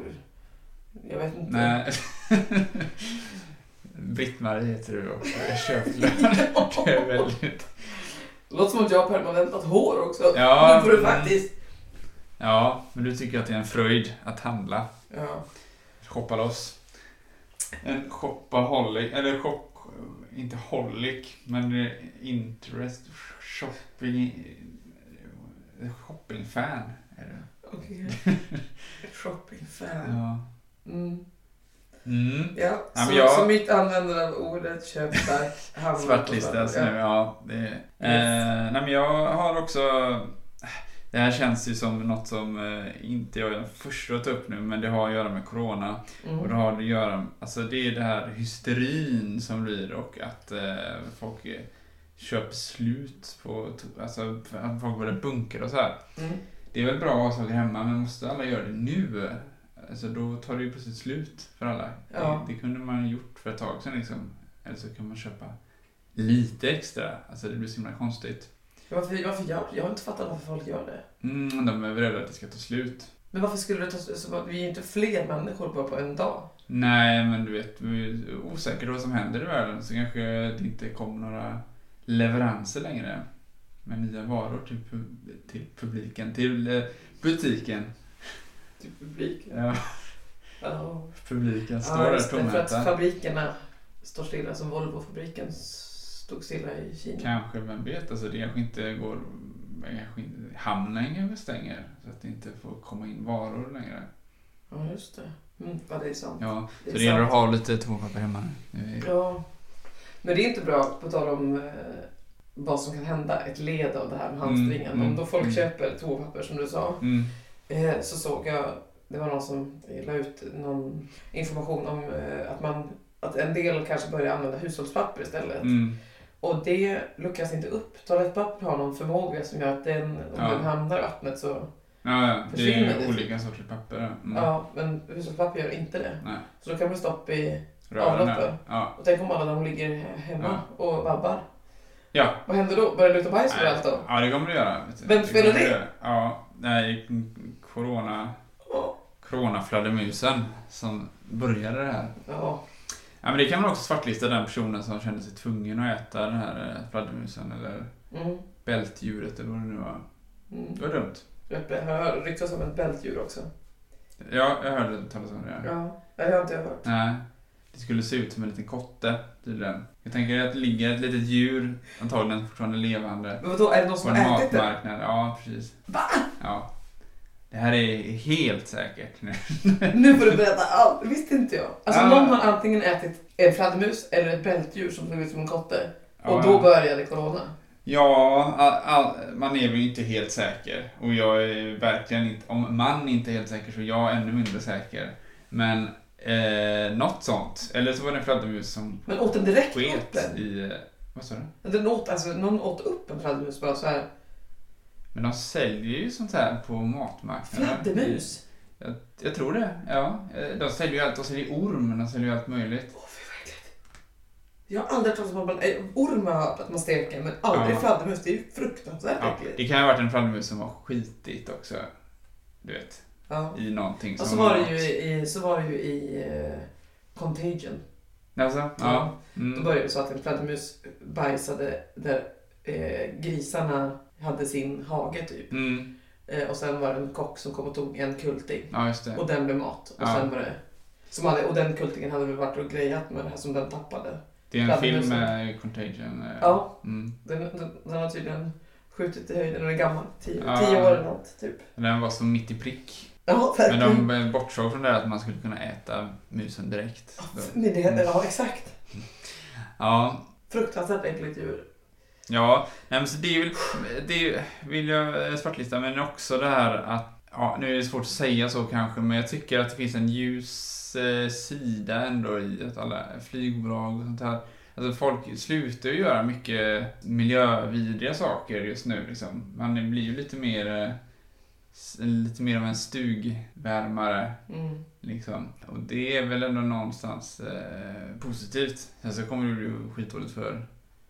A: Jag vet inte.
B: Nej. Britt-Marie heter du också. Jag är Köpglad. Det är väldigt...
A: Det låter som att jag har permanentat hår också.
B: Ja,
A: Nu får du
B: mm.
A: faktiskt...
B: Ja, men du tycker att det är en fröjd att handla.
A: Ja.
B: Shoppa loss. En shoppaholic, eller shop... Inte holic, men eh, interest... Shopping... Shoppingfan är du.
A: Okej. Shoppingfan.
B: Ja.
A: Mm.
B: Mm.
A: Ja,
B: Ja, men
A: så,
B: jag-
A: så mitt användande av ordet köpstark hamnar på
B: Svartlistas
A: svartlista.
B: nu, ja. Det,
A: Alltså,
B: eh,
A: Yes.
B: nej, men jag har också... Det här känns ju som något som eh, inte jag är den första att ta upp nu, men det har att göra med Corona. Och det
A: Mm.
B: har att göra... Alltså det är det här hysterin som blir och att eh, folk eh, köper slut på... to- Alltså att folk börjar bunkra och så här.
A: Mm.
B: Det är väl bra att ha saker hemma, men måste alla göra det nu? Alltså då tar det ju precis slut för alla.
A: Ja.
B: Det, det kunde man ju gjort för ett tag sedan liksom. Eller så kan man köpa lite extra. Alltså det blir så himla konstigt.
A: Varför, varför gör Jag har inte fattat varför folk gör det.
B: Mm, de är väl rädda att det ska ta slut.
A: Men varför skulle det ta så att Vi är inte fler människor bara på en dag.
B: Nej, men du vet, vi är osäkra på vad som händer i världen så kanske det inte kommer några leveranser längre. Med nya varor till, pu- till publiken, till eh, butiken.
A: Till publiken.
B: Ja,
A: Typ Ja.
B: publiken står
A: Ja,
B: där
A: just det, för att
B: tomhänta.
A: fabrikerna står stilla som Volvo-fabriken stod stilla i Kina.
B: Kanske, vem vet? Alltså det kanske inte går... Kanske inte, hamnen kanske stänger så att det inte får komma in varor längre.
A: Ja, just det. Mm, ja, det är sant.
B: Ja,
A: Det
B: så
A: är
B: det gäller
A: sant.
B: att ha lite toapapper hemma. nu. Eh,
A: Ja. Men det är inte bra, på tal om eh, vad som kan hända, ett led av det här med hamstringen.
B: Mm, mm,
A: om då folk
B: mm.
A: köper toapapper, som du sa,
B: Mm.
A: eh, så såg jag, det var någon som la ut någon information om eh, att, man, att en del kanske börjar använda hushållspapper istället.
B: Mm.
A: Och det luckas inte upp. Toalettpapper har någon förmåga som gör att den, om
B: Ja. Mm.
A: den hamnar i vattnet så...
B: Ja, ja, det
A: Försvinner
B: är
A: det? typ?
B: ju olika sorters papper. Mm.
A: Ja, men hushållspapper gör inte det.
B: Nej,
A: Så då kan man stoppa i...
B: rören
A: Avloppen.
B: här. Ja.
A: Och tänk om alla de ligger hemma och vabbar.
B: Ja.
A: Vad händer då? Börjar det lukta bajs överallt då?
B: ja, det kommer du göra. vet du.
A: Vem spelar
B: kommer
A: det?
B: du göra. Ja, nej, mm, corona...
A: Ja.
B: Coronafladdermusen som började det här.
A: Ja.
B: Ja, men det kan man också svartlista den personen som kände sig tvungen att äta den här eh, fladdermusen eller
A: Mm.
B: bältdjuret eller vad det nu var.
A: Mm.
B: Det var dumt.
A: Jag har ryktats om ett bältdjur också.
B: Ja, jag hörde talas om det.
A: Ja. Nej, det har inte jag hört.
B: Nej. Det skulle se ut som en liten kotte, tydligen. Jag tänker att det ligger ett litet djur, antagligen fortfarande levande,
A: Men vadå, är det någon
B: på
A: som
B: en
A: har ätit det?
B: matmarknad. Ja, precis. Va? Ja. Det här är helt säkert nu.
A: Nu får du berätta allt! Det visste inte jag. Alltså
B: Ja.
A: någon har antingen ätit en fladdermus eller ett bältdjur som såg ut som en kotte.
B: Ja,
A: och då började corona.
B: Ja, all, all, man är väl inte helt säker. Och jag är verkligen inte, om man inte är helt säker så är jag ännu mindre säker. Men eh, något sånt. Eller så var det en fladdermus som
A: Men åt den direkt upp
B: sket
A: den?
B: i... eh, Vad sa du?
A: den åt, alltså, någon åt upp en fladdermus bara så här.
B: Men de säljer ju sånt här på matmarknaden.
A: Fladdermus?
B: Jag, jag tror det, ja. Eh, De säljer ju allt. De säljer orm, de säljer ju allt möjligt.
A: Åh, fy vad äckligt. Jag har aldrig pratat om att man... eh, Orm har jag hört att man steker, men aldrig
B: Ja.
A: fladdermus. Det är ju fruktansvärt
B: Ja,
A: äckligt.
B: det kan ju ha varit en fladdermus som var skitigt också. Du vet,
A: Ja.
B: i någonting
A: Och så var det ju i, så var det ju i eh, Contagion.
B: Alltså, ja.
A: Då
B: Mm.
A: började det så att en fladdermus bajsade där eh, grisarna hade sin hage typ.
B: Mm.
A: Eh, och sen var det en kock som kom och tog en kulting.
B: Ja, just det.
A: Och den blev mat. Och,
B: Ja.
A: sen var det, som hade, och den kultingen hade väl varit och grejat med det här som den tappade.
B: Det är en
A: fladdermusen.
B: film med Contagion. eh,
A: Ja.
B: Mm.
A: Den, den, den har tydligen skjutit i höjden. Den är gammal. Tio,
B: Ja.
A: tio år eller något typ.
B: Den var så mitt i prick.
A: Ja,
B: Men
A: verkligen.
B: de eh, bortsåg från det här att man skulle kunna äta musen direkt. Så-
A: Men det, ja, exakt.
B: Ja,
A: Fruktansvärt äckligt djur.
B: Ja, nej, men så det, är väl, det är, ju- vill jag eh, svartlista, men också det här att, ja, nu är det svårt att säga så kanske, men jag tycker att det finns en ljus eh, sida ändå i att alla flygbolag och sånt här, alltså folk slutar ju göra mycket miljövidriga saker just nu liksom. Man blir ju lite mer, eh, s- lite mer av en stugvärmare
A: Mm.
B: Liksom. Och det är väl ändå någonstans eh, positivt. Sen så kommer det bli skitdåligt för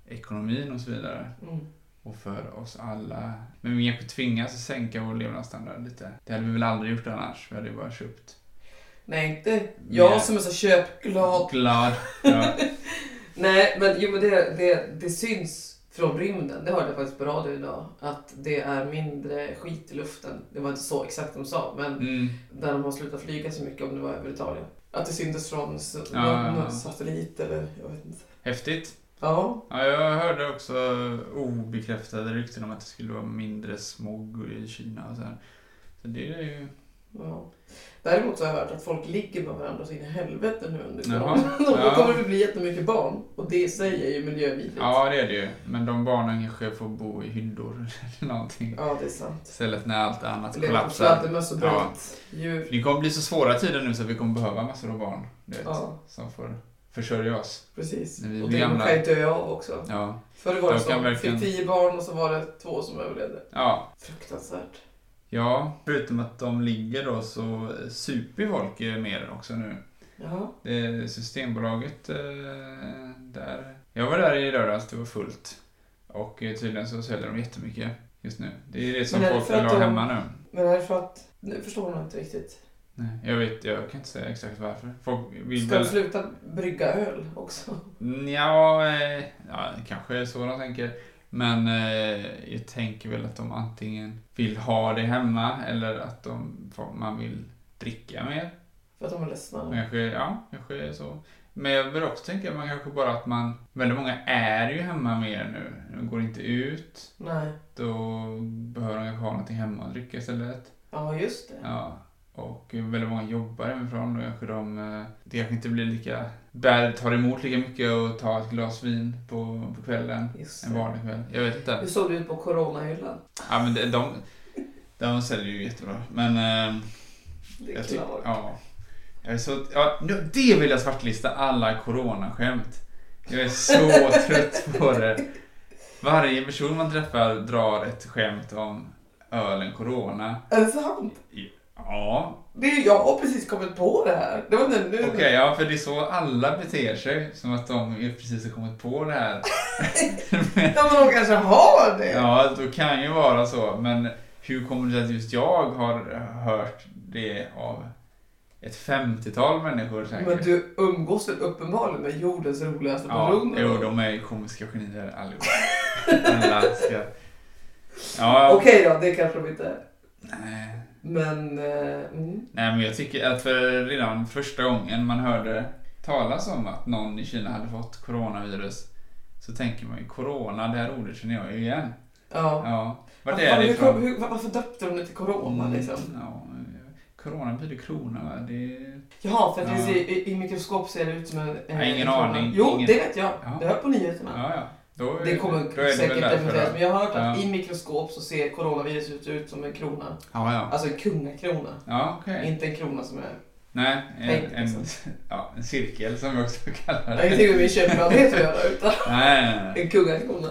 B: ekonomin och så vidare.
A: Mm.
B: Och för oss alla. Men vi kanske tvingas att sänka vår levnadsstandard lite. Det hade vi väl aldrig gjort annars. Vi hade ju bara köpt.
A: Nej, inte jag
B: Nej.
A: som är så köpglad.
B: Glad. Ja.
A: Nej, men, jo, men det, det, det syns från rymden. Det hörde jag faktiskt på radio idag. Att det är mindre skit i luften. Det var inte så exakt de sa, men
B: Mm.
A: där de har slutat flyga så mycket om det var över Italien. Att det syntes från s-
B: Ja,
A: någon,
B: ja, ja.
A: någon satellit eller jag vet inte.
B: Häftigt.
A: Ja,
B: Ja, jag hörde också obekräftade rykten om att det skulle vara mindre smog i Kina och så här. Så det är ju...
A: ja. Däremot så har jag hört att folk ligger med varandra så in i helvete nu under
B: Jaha,
A: coronan. Och Då
B: ja.
A: kommer det bli jättemycket barn. Och det i sig är ju miljövidrigt.
B: Ja, det är det ju. Men de barnen kanske får bo i hyddor eller någonting.
A: ja, det är sant.
B: Istället när allt annat
A: Leva på
B: kollapsar.
A: fladdermöss och
B: Ja.
A: djur.
B: För Det kommer bli så svåra tider nu så vi kommer behöva massor av barn. Du vet,
A: Ja.
B: Som får försörja oss.
A: Precis.
B: När vi
A: och
B: blir
A: det
B: gamla.
A: kan ju dö av också.
B: Ja.
A: Förr var det
B: De kan
A: så.
B: verkligen-
A: Fick tio barn och så var det två som överlevde.
B: Ja.
A: Fruktansvärt.
B: ja, förutom att de ligger då så super folk eh, mer också nu.
A: Ja.
B: Det är Systembolaget eh, där. Jag var där i lördags, det var fullt. Och eh, tydligen så säljer de jättemycket just nu. Det är det som
A: Men är det
B: folk
A: för
B: vill
A: att
B: ha
A: de-
B: hemma nu.
A: Men är det för att... Nu förstår man inte riktigt.
B: Nej, jag vet, jag kan inte säga exakt varför. Folk vill
A: Ska
B: väl...
A: de sluta brygga öl också?
B: Ja, eh, ja, kanske är så de tänker. Men eh, jag tänker väl att de antingen vill ha det hemma eller att de, man vill dricka mer.
A: För att de är ledsna?
B: Kanske, ja, kanske är så. Men jag vill också tänka att man kanske bara att man, väldigt många är ju hemma mer nu. De går inte ut.
A: Nej.
B: Då behöver de kanske ha någonting hemma att dricka istället.
A: Ja, just det.
B: Ja, och väldigt många jobbar hemifrån och kanske de, eh, det kanske inte blir lika, bär tar emot lika mycket att ta ett glas vin på, på kvällen.
A: Just
B: En
A: det.
B: vanlig kväll. Jag vet
A: Hur
B: inte.
A: såg det ut på coronahyllan?
B: Ja, men de, de, de säljer ju jättebra. Men... eh,
A: Det är
B: jag tycker-
A: klart.
B: ja. Jag är så, ja, nu- det vill jag svartlista alla coronaskämt. Jag är så trött på det. Varje person man träffar drar ett skämt om ölen corona.
A: Är det sant?
B: Ja,
A: Det är, jag har precis kommit på det här. Det var nu. nu.
B: Okej, ja, för det är så alla beter sig. Som att de ju precis har kommit på det här.
A: Ja, men de kanske har det.
B: Ja, då kan ju vara så. Men hur kommer det sig att just jag har hört det av ett 50-tal människor säkert?
A: men du umgås väl uppenbarligen med jordens roligaste
B: ja,
A: personer?
B: jo, de är ju komiska genier allihopa. alla ska... Ja,
A: Okej då, det kanske de inte är.
B: nej.
A: Men... eh, mm.
B: nej, men jag tycker att för redan första gången man hörde talas om att någon i Kina hade fått coronavirus så tänker man ju corona, det här ordet känner jag ju igen.
A: Ja. Alltså,
B: Ja. Vart
A: Fan,
B: är det liksom?
A: hur
B: Mm.
A: kom-
B: ifrån?
A: hur, varför döpte de det till corona liksom?
B: Ja, corona betyder krona va? Det... är-
A: Jaha, för att
B: Ja.
A: i, i, i mikroskop ser det ut som en... en
B: Ja, ingen
A: en krona.
B: aning,
A: Jo,
B: ingen-
A: det vet jag.
B: Ja.
A: Det hör på nyheterna.
B: Ja, ja. Då,
A: Det kommer
B: då är det
A: säkert
B: väl därför
A: dementeras,
B: då.
A: men jag har hört att
B: Ja.
A: i mikroskop så ser coronaviruset ut som en krona.
B: Ja, ja.
A: Alltså en kungakrona.
B: Ja, okej.
A: Inte en krona som är...
B: Nej, en,
A: Tänk,
B: en,
A: liksom.
B: ja, en cirkel som vi också kallar
A: Jag har
B: det.
A: ingenting med min köpgladhet att göra, utan
B: Nej, nej, nej.
A: en kungakrona.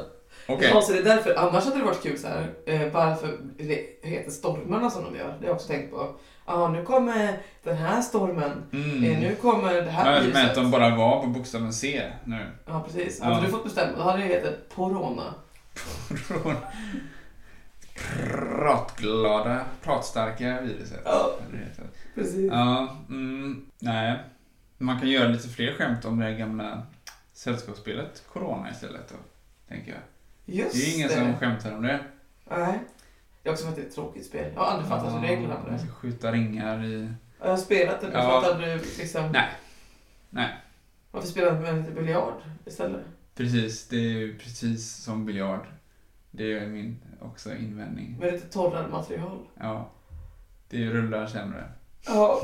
B: Okej.
A: Ja, så det är därför. Annars hade det varit kul så här. Eh, varför det heter stormarna som de gör. Det har jag också tänkt på. Ja, nu kommer den här stormen. Eh,
B: Mm.
A: nu kommer det
B: Ja,
A: här
B: eller men att de bara var på bokstaven C nu.
A: Ja, precis.
B: Ja.
A: Hade du fått bestämma, då hade det hetat Corona.
B: Från pratglada, pratstarka viruset.
A: Ja.
B: eller det heter.
A: Precis.
B: Ja, mm, nej. Man kan göra lite fler skämt om det här gamla sällskapsspelet Corona istället då, tänker jag.
A: Just
B: Det är ju ingen
A: det.
B: som skämtar om det.
A: Nej. Jag har också fattat ett tråkigt spel. Jag har aldrig fattat
B: Ja,
A: reglerna på
B: Man
A: det.
B: ska skjuta ringar i...
A: Jag har spelat det, men
B: Ja.
A: fattar du liksom...
B: Nej. Nej.
A: Varför spelar man inte biljard istället?
B: Precis, det är ju precis som biljard. Det är min också invändning.
A: Med lite torrare material.
B: Ja. Det rullar sämre.
A: Ja.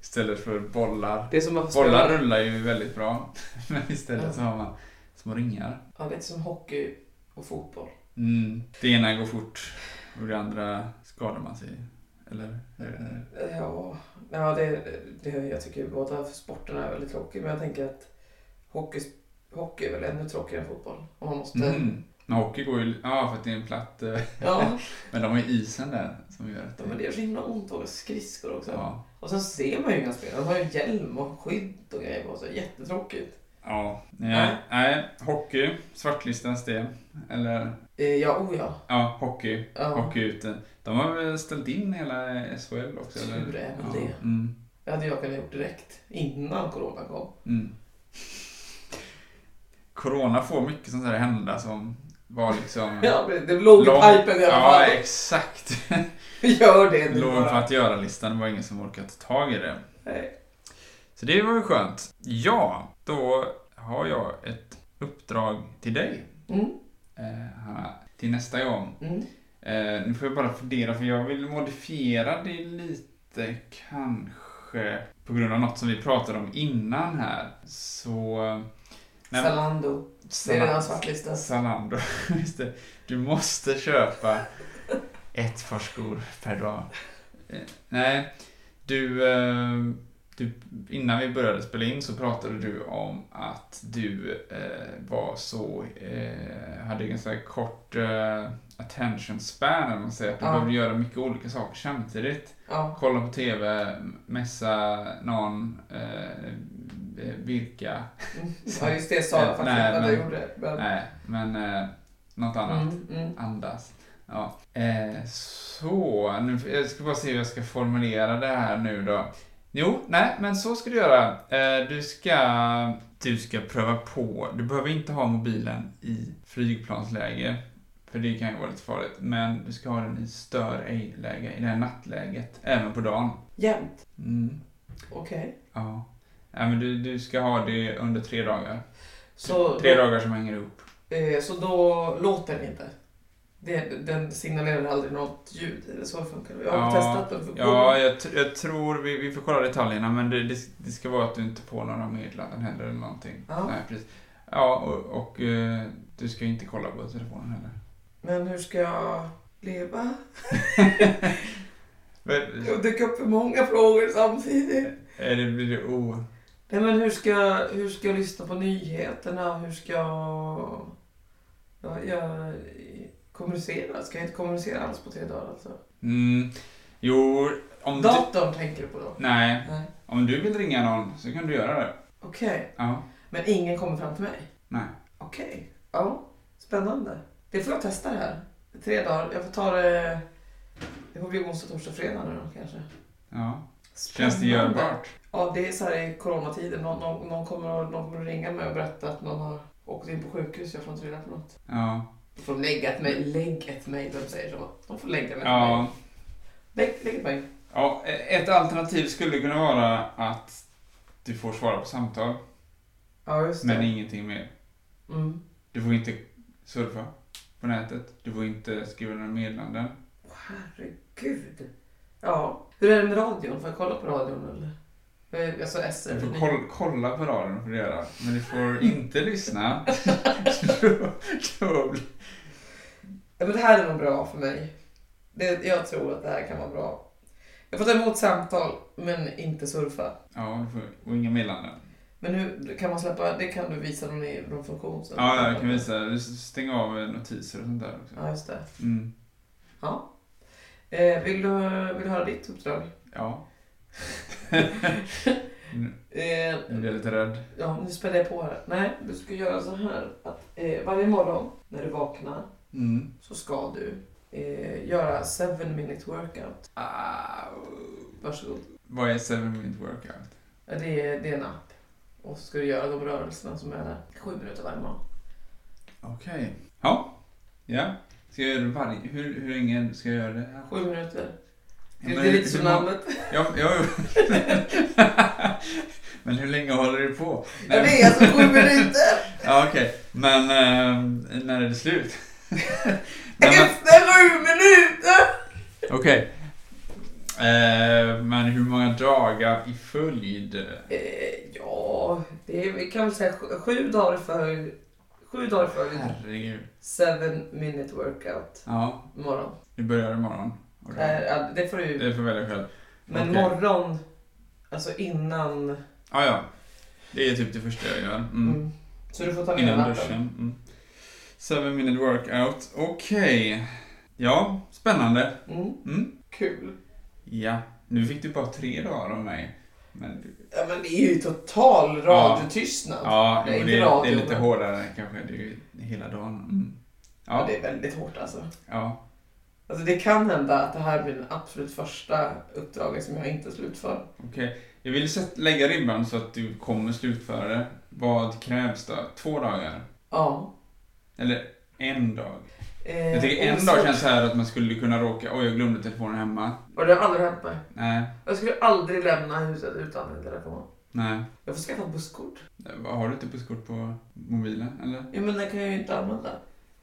B: Istället för bollar.
A: Det är som att
B: Bollar
A: spela...
B: rullar ju väldigt bra. Men istället så har man små ringar.
A: Ja, det är inte som hockey och fotboll.
B: Mm. Det ena går fort och det andra skadar man sig. Eller? Eller-
A: Ja, ja det, det, jag tycker båda sporterna är väldigt tråkiga. Men jag tänker att hockey, hockey är väl ännu tråkigare än fotboll. Om man måste...
B: Mm. Men hockey går ju... Ja, för att det är en platt... eh,
A: Ja,
B: Men de har ju isen där som gör att
A: men det gör så himla ont att åka skridskor också.
B: Ja.
A: Och sen ser man ju inga spelare. De har ju hjälm och skydd och grejer på sig. Jättetråkigt.
B: Ja. Nej.
A: Nej.
B: Nej. Hockey. Svartlistas det. Eller?
A: Eh, Ja, oh ja.
B: Ja, hockey.
A: ja.
B: Hockey ute. De har väl ställt in hela SHL också? eller?
A: Tur är väl
B: ja.
A: det.
B: Mm.
A: Det hade jag kunnat gjort direkt. Innan corona kom.
B: Mm. Corona får mycket sånt här hända som var liksom...
A: Ja, men det låg i
B: Lång-
A: pipen i alla
B: Ja,
A: fall.
B: exakt.
A: Gör det nu
B: Låg på
A: bara.
B: att göra-listan. Det var ingen som orkat ta tag i det.
A: Nej.
B: Så det var ju skönt. Ja, då har jag ett uppdrag till dig.
A: Mm,
B: Eh, Hanna, till nästa gång.
A: mm.
B: Eh, nu får jag bara fundera för jag vill modifiera det lite kanske på grund av något som vi pratade om innan här. Så... Nej, men-
A: Zalando. Det är redan svartlistat.
B: Zalando. Just det. Du måste köpa ett par skor per dag. Eh, nej, du, eh, du... Innan vi började spela in så pratade du om att du eh, var så... Eh, hade ganska kort eh, attention span, eller vad man säger. Att du
A: Ja.
B: behövde göra mycket olika saker samtidigt.
A: Ja.
B: Kolla på TV, messa någon, eh, virka.
A: Mm. ja, just det sa jag faktiskt
B: Nej,
A: att jag
B: men-
A: gjorde. Men...
B: Nej, men eh, något annat.
A: Mm, mm.
B: Andas. Ja. Eh, så, nu, jag ska bara se hur jag ska formulera det här nu då. Jo, nej, men så ska du göra. Eh, du, ska, du ska pröva på. Du behöver inte ha mobilen i flygplansläge, för det kan ju vara lite farligt. Men du ska ha den i stör ej-läge, i det här nattläget, även på dagen.
A: Jämt.
B: Mm.
A: Okej.
B: Ja. Nej, men du, du ska ha det under tre dagar.
A: Så,
B: Tre dagar som hänger ihop.
A: eh, så då låter den inte? Det, den signalerar aldrig något ljud? Är det så det funkar? Jag har
B: Ja,
A: testat den. För
B: Ja, jag, tr- jag tror, vi, vi får kolla detaljerna, men det, det, det ska vara att du inte får några meddelanden heller eller någonting.
A: Ja.
B: Nej, precis. Ja, och, och eh, du ska ju inte kolla på telefonen heller.
A: Men hur ska jag leva?
B: Men,
A: Det dyker upp för många frågor samtidigt.
B: är det, blir det o...
A: Nej, men hur ska, hur ska jag lyssna på nyheterna? Hur ska jag, jag, jag kommunicera? Ska jag inte kommunicera alls på tre dagar alltså?
B: Mm, jo, om du...
A: Datorn tänker du på då?
B: Nej,
A: Nej.
B: om du vill ringa någon så kan du göra det.
A: Okej.
B: Ja,
A: Men ingen kommer fram till mig?
B: nej.
A: Okej. Ja, spännande. Det får jag testa det här. Tre dagar. Jag får ta det... Det får bli onsdag, torsdag, fredag nu då kanske.
B: Ja. Känns det
A: Spännande.
B: görbart?
A: Ja, det är så här i coronatiden. Någon, någon, någon, kommer att, någon kommer att ringa mig och berätta att någon har åkt in på sjukhus. Jag får inte reda på något.
B: Ja.
A: Du får lägga ett mejl. Lägg ett mejl, de säger så. De får lägga ett mejl.
B: Ja.
A: Lägg, lägg ett mejl.
B: ja. Ett alternativ skulle kunna vara att du får svara på samtal,
A: Ja, just
B: men
A: det.
B: ingenting mer.
A: Mm.
B: Du får inte surfa på nätet. Du får inte skriva några meddelanden.
A: Åh, Herregud. Ja. Hur är det med radion? Får jag kolla på radion eller? Eh, Alltså SR.
B: Du får koll, kolla på radion får du göra. Men du får inte lyssna. då, då blir-
A: Ja, men det här är nog bra för mig. Det, jag tror att det här kan vara bra. Jag får ta emot samtal, men inte surfa.
B: ja, du får och inga meddelanden.
A: Men hur kan man släppa, det kan du visa någon i någon funktion sen.
B: Ja, jag kan visa. Stäng av notiser och sånt där också.
A: Ja, just det.
B: Mm.
A: Eh, vill, du, vill du höra ditt uppdrag?
B: Ja, Mm.
A: Eh,
B: jag blir lite rädd.
A: ja, nu spelar jag på här. Nej, du ska göra så här att eh, varje morgon när du vaknar
B: Mm.
A: så ska du eh, göra 7 minute workout.
B: Ah,
A: Varsågod.
B: vad är 7 minute workout?
A: Ja, Det är, det är en app. Och så ska du göra de rörelserna som är där. Sju minuter varje morgon.
B: Okej. Ja. Ja. Ska jag göra det varje... Hur, hur länge ska jag göra det här?
A: Sju minuter.
B: Ja,
A: det
B: men
A: är
B: hur-
A: lite som
B: hur många-
A: namnet.
B: Ja, ja. men hur länge håller det på?
A: Ja, det är alltså sju minuter.
B: Ja, okej. Men ehm, när är det slut? Nej, men-
A: Efter sju minuter!
B: Okej. Eh, men hur många dagar i följd?
A: Eh, ja, det är, vi kan väl säga sju, sju dagar för Sju dagar för
B: Herregud.
A: seven minute workout.
B: Ja,
A: Morgon.
B: det börjar imorgon. Och
A: Mm.
B: det-
A: det får du
B: Det får jag välja själv.
A: Men
B: okej.
A: morgon, alltså innan.
B: Ah, ja, det är typ det första jag gör. Mm.
A: Mm. Så du får ta med den
B: Innan
A: appen.
B: duschen. Mm. Seven minute workout. Okej. Ja, spännande.
A: Mm.
B: Mm.
A: Kul.
B: Ja, nu fick du bara tre dagar av mig. Men,
A: Ja men det är ju total radiotystnad.
B: ja,
A: det är
B: det,
A: inte
B: det, är, det är
A: radio,
B: lite
A: men-
B: hårdare kanske. Det är ju hela dagen. Mm.
A: Ja,
B: Ja,
A: det är väldigt hårt alltså.
B: ja.
A: alltså. Det kan hända att det här blir det absolut första uppdraget som jag inte slutför.
B: okej. Jag vill sätt, lägga ribban så att du kommer slutföra det. Vad krävs då? Två dagar?
A: Ja.
B: Eller en dag?
A: Eh,
B: Jag tycker
A: och
B: en
A: så-
B: dag känns så här att man skulle kunna råka, oj jag glömde telefonen hemma.
A: Och det har aldrig hänt mig.
B: Nej,
A: Jag skulle aldrig lämna huset utan en telefon.
B: nej.
A: Jag får skaffa busskort.
B: Har du inte busskort på mobilen eller?
A: Ja men den kan jag ju inte använda.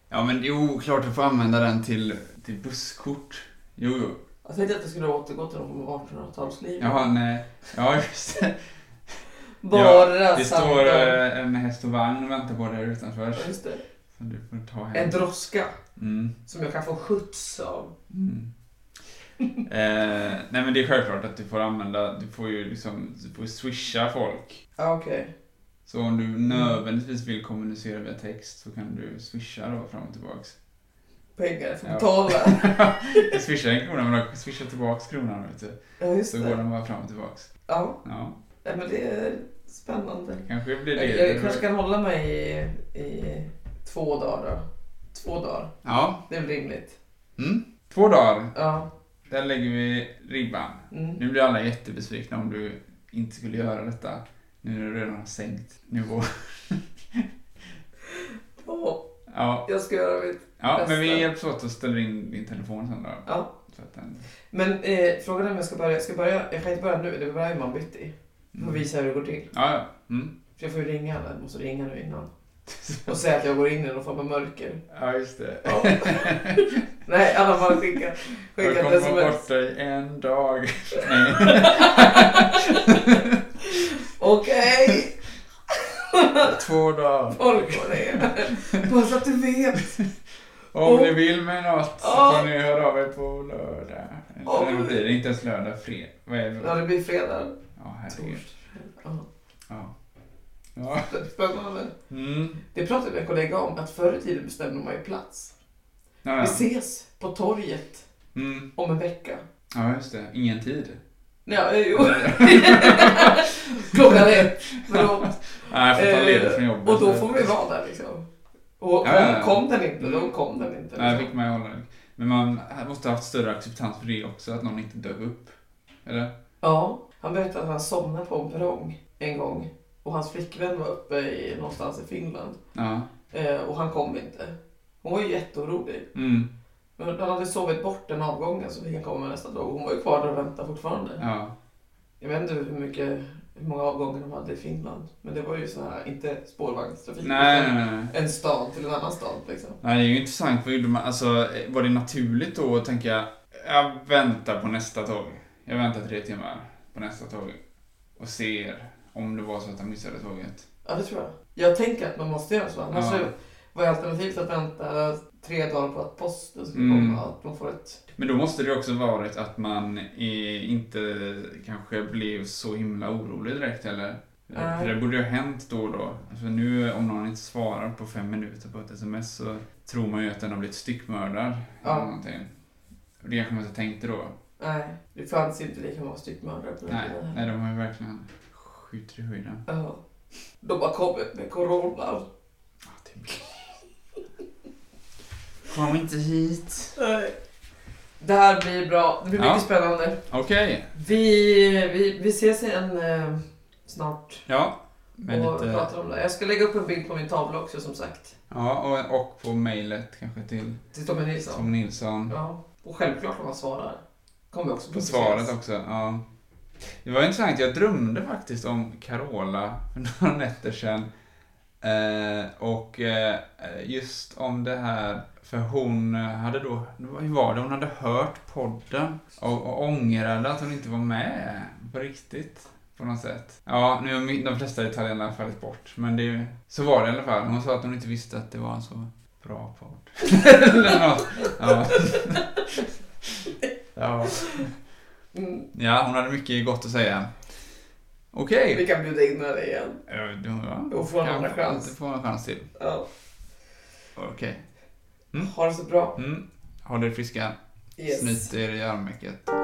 B: Ja men jo, klart du får använda den till, till busskort. Jo, jo.
A: Jag tänkte att jag skulle återgå till de 1800-talslivet.
B: Jaha, nej. eh, Ja, just det.
A: Bara
B: Det
A: samtal.
B: står eh, en häst och vagn och väntar på dig utanför.
A: Ja, Just det.
B: Så du får ta hem.
A: En droska
B: Mm.
A: som jag kan få skjuts av.
B: Mm. eh, nej men det är självklart att du får använda, du får ju liksom, du får swisha folk.
A: Ja, okej.
B: Så om du
A: Mm.
B: nödvändigtvis vill kommunicera via text så kan du swisha då fram och tillbaks.
A: Pengar, jag får
B: Ja.
A: betala.
B: Du swishar en krona men du swishar tillbaks kronan vet du.
A: Ja, just
B: Så går
A: det.
B: den bara fram och tillbaks.
A: Ja,
B: Ja,
A: nej, men det är spännande.
B: kanske blir det.
A: Jag, jag kanske kan hålla mig i, i två dagar då. Två dagar,
B: Ja.
A: det är väl rimligt.
B: Mm. Två dagar,
A: Ja.
B: där lägger vi ribban.
A: Mm.
B: Nu blir alla jättebesvikna om du inte skulle göra detta. Nu när du redan har sänkt nivå.
A: Åh,
B: Ja,
A: jag ska göra mitt.
B: ja men vi
A: Bästa.
B: hjälps åt och ställer in din telefon sen då.
A: Ja.
B: Så att den...
A: Men eh, frågan är om jag ska börja. Jag, ska börja. jag kan inte börja nu, det börjar imorgon bitti. Jag får
B: Mm.
A: visa hur det går till.
B: Ja, ja. Mm.
A: För jag får ju ringa alla, jag måste ringa nu innan. Och säga att jag går in i någon form av mörker.
B: Ja, just det.
A: Ja. Nej, alla bara skickar
B: Jag
A: skicka
B: kommer
A: det som
B: vara
A: en
B: borta i en dag. Nej.
A: Okej!
B: Två dagar.
A: Folk vad det är. Bara så att du vet.
B: Om
A: Och-
B: ni vill mig något så
A: Ja.
B: får ni höra av er på lördag. Eller
A: Och-
B: oh. blir det inte ens lördag, fredag. Vad är
A: Ja,
B: det?
A: det blir fredag.
B: Ja, herregud.
A: Torsdag. Ja.
B: Ja. ja.
A: Spännande.
B: Mm.
A: Det pratade min kollega om, att förr i tiden bestämde man ju plats.
B: Ja,
A: Vi
B: ja.
A: ses på torget
B: Mm.
A: om en vecka.
B: ja, just det. Ingen tid.
A: Nej, ja, jo. Klockan ett. Förlåt.
B: Nej, jag får ta ledigt från jobbet.
A: Eh, Och då får vi vara där liksom. Och
B: eh, Ja, ja, ja.
A: kom, kom den inte, då
B: Mm.
A: kom den inte.
B: Nej,
A: Liksom.
B: fick man ju hålla det. Men man måste ha haft större acceptans för det också, att någon inte dök upp. Eller?
A: Ja, han berättade att han somnade på en perrong en gång. Och hans flickvän var uppe i, någonstans i Finland.
B: Ja.
A: Eh, och han kom inte. Hon var ju jätteorolig.
B: Mm.
A: Men han hade sovit bort den avgången så fick han komma nästa dag. Hon var ju kvar där och väntade fortfarande.
B: Ja.
A: Jag vet inte hur, mycket, hur många avgångar de hade i Finland. Men det var ju så här, inte spårvagnstrafik.
B: Nej,
A: utan
B: nej, nej.
A: En stad till en annan stad liksom.
B: Nej, det är ju intressant. Vad gjorde man? Alltså, var det naturligt då att tänka jag väntar på nästa tåg. Jag väntar tre timmar på nästa tåg och ser om det var så att han missade tåget.
A: Ja, det tror jag. Jag tänker att man måste göra så. Annars
B: Ja.
A: så var ju alternativet att vänta tre dagar på att posten skulle
B: Mm.
A: komma. Att man får ett...
B: Men då måste det också varit att man eh, inte kanske blev så himla orolig direkt eller? För det borde ju ha hänt då och då. Alltså nu om någon inte svarar på fem minuter på ett sms så tror man ju att den har blivit styckmördad.
A: Ja.
B: Eller någonting. Och det kanske man inte tänkte då.
A: Nej, det fanns inte lika många styckmördare på den
B: Nej,
A: tiden.
B: nej, de har ju verkligen skjutit i höjden.
A: Ja. De har kommit med corona.
B: Ah, det är mycket. Kom inte hit.
A: Nej. Det här blir bra. Det blir
B: Ja.
A: mycket spännande.
B: Okej,
A: Vi, vi, vi ses igen eh, snart
B: ja. Med
A: och
B: lite...
A: pratar om det. Jag ska lägga upp en bild på min tavla också som sagt.
B: Ja, och, och på mejlet kanske till
A: Till Tommy Nilsson.
B: Tom Nilsson.
A: Ja. Och självklart om han svarar. Kommer också
B: På
A: publiceras.
B: svaret också, ja. Det var intressant, jag drömde faktiskt om Carola för några nätter sedan. Eh, och eh, just om det här, för hon eh, hade då, hur var det, hon hade hört podden och, och ångrade att hon inte var med på riktigt. På något sätt. Ja, nu har min- de flesta detaljerna fallit bort, men det, är ju- så var det i alla fall. Hon sa att hon inte visste att det var en så bra podd. Eller något. Ja. ja.
A: Mm,
B: Ja, hon hade mycket gott att säga. Okej.
A: vi kan bjuda in henne igen
B: Eh, då- ja.
A: och få en
B: Kan
A: andra chans.
B: inte få en chans till.
A: Ja.
B: Okej.
A: Ha det så bra.
B: Mm. Håll er friska.
A: Yes.
B: Snyt er i armvecket.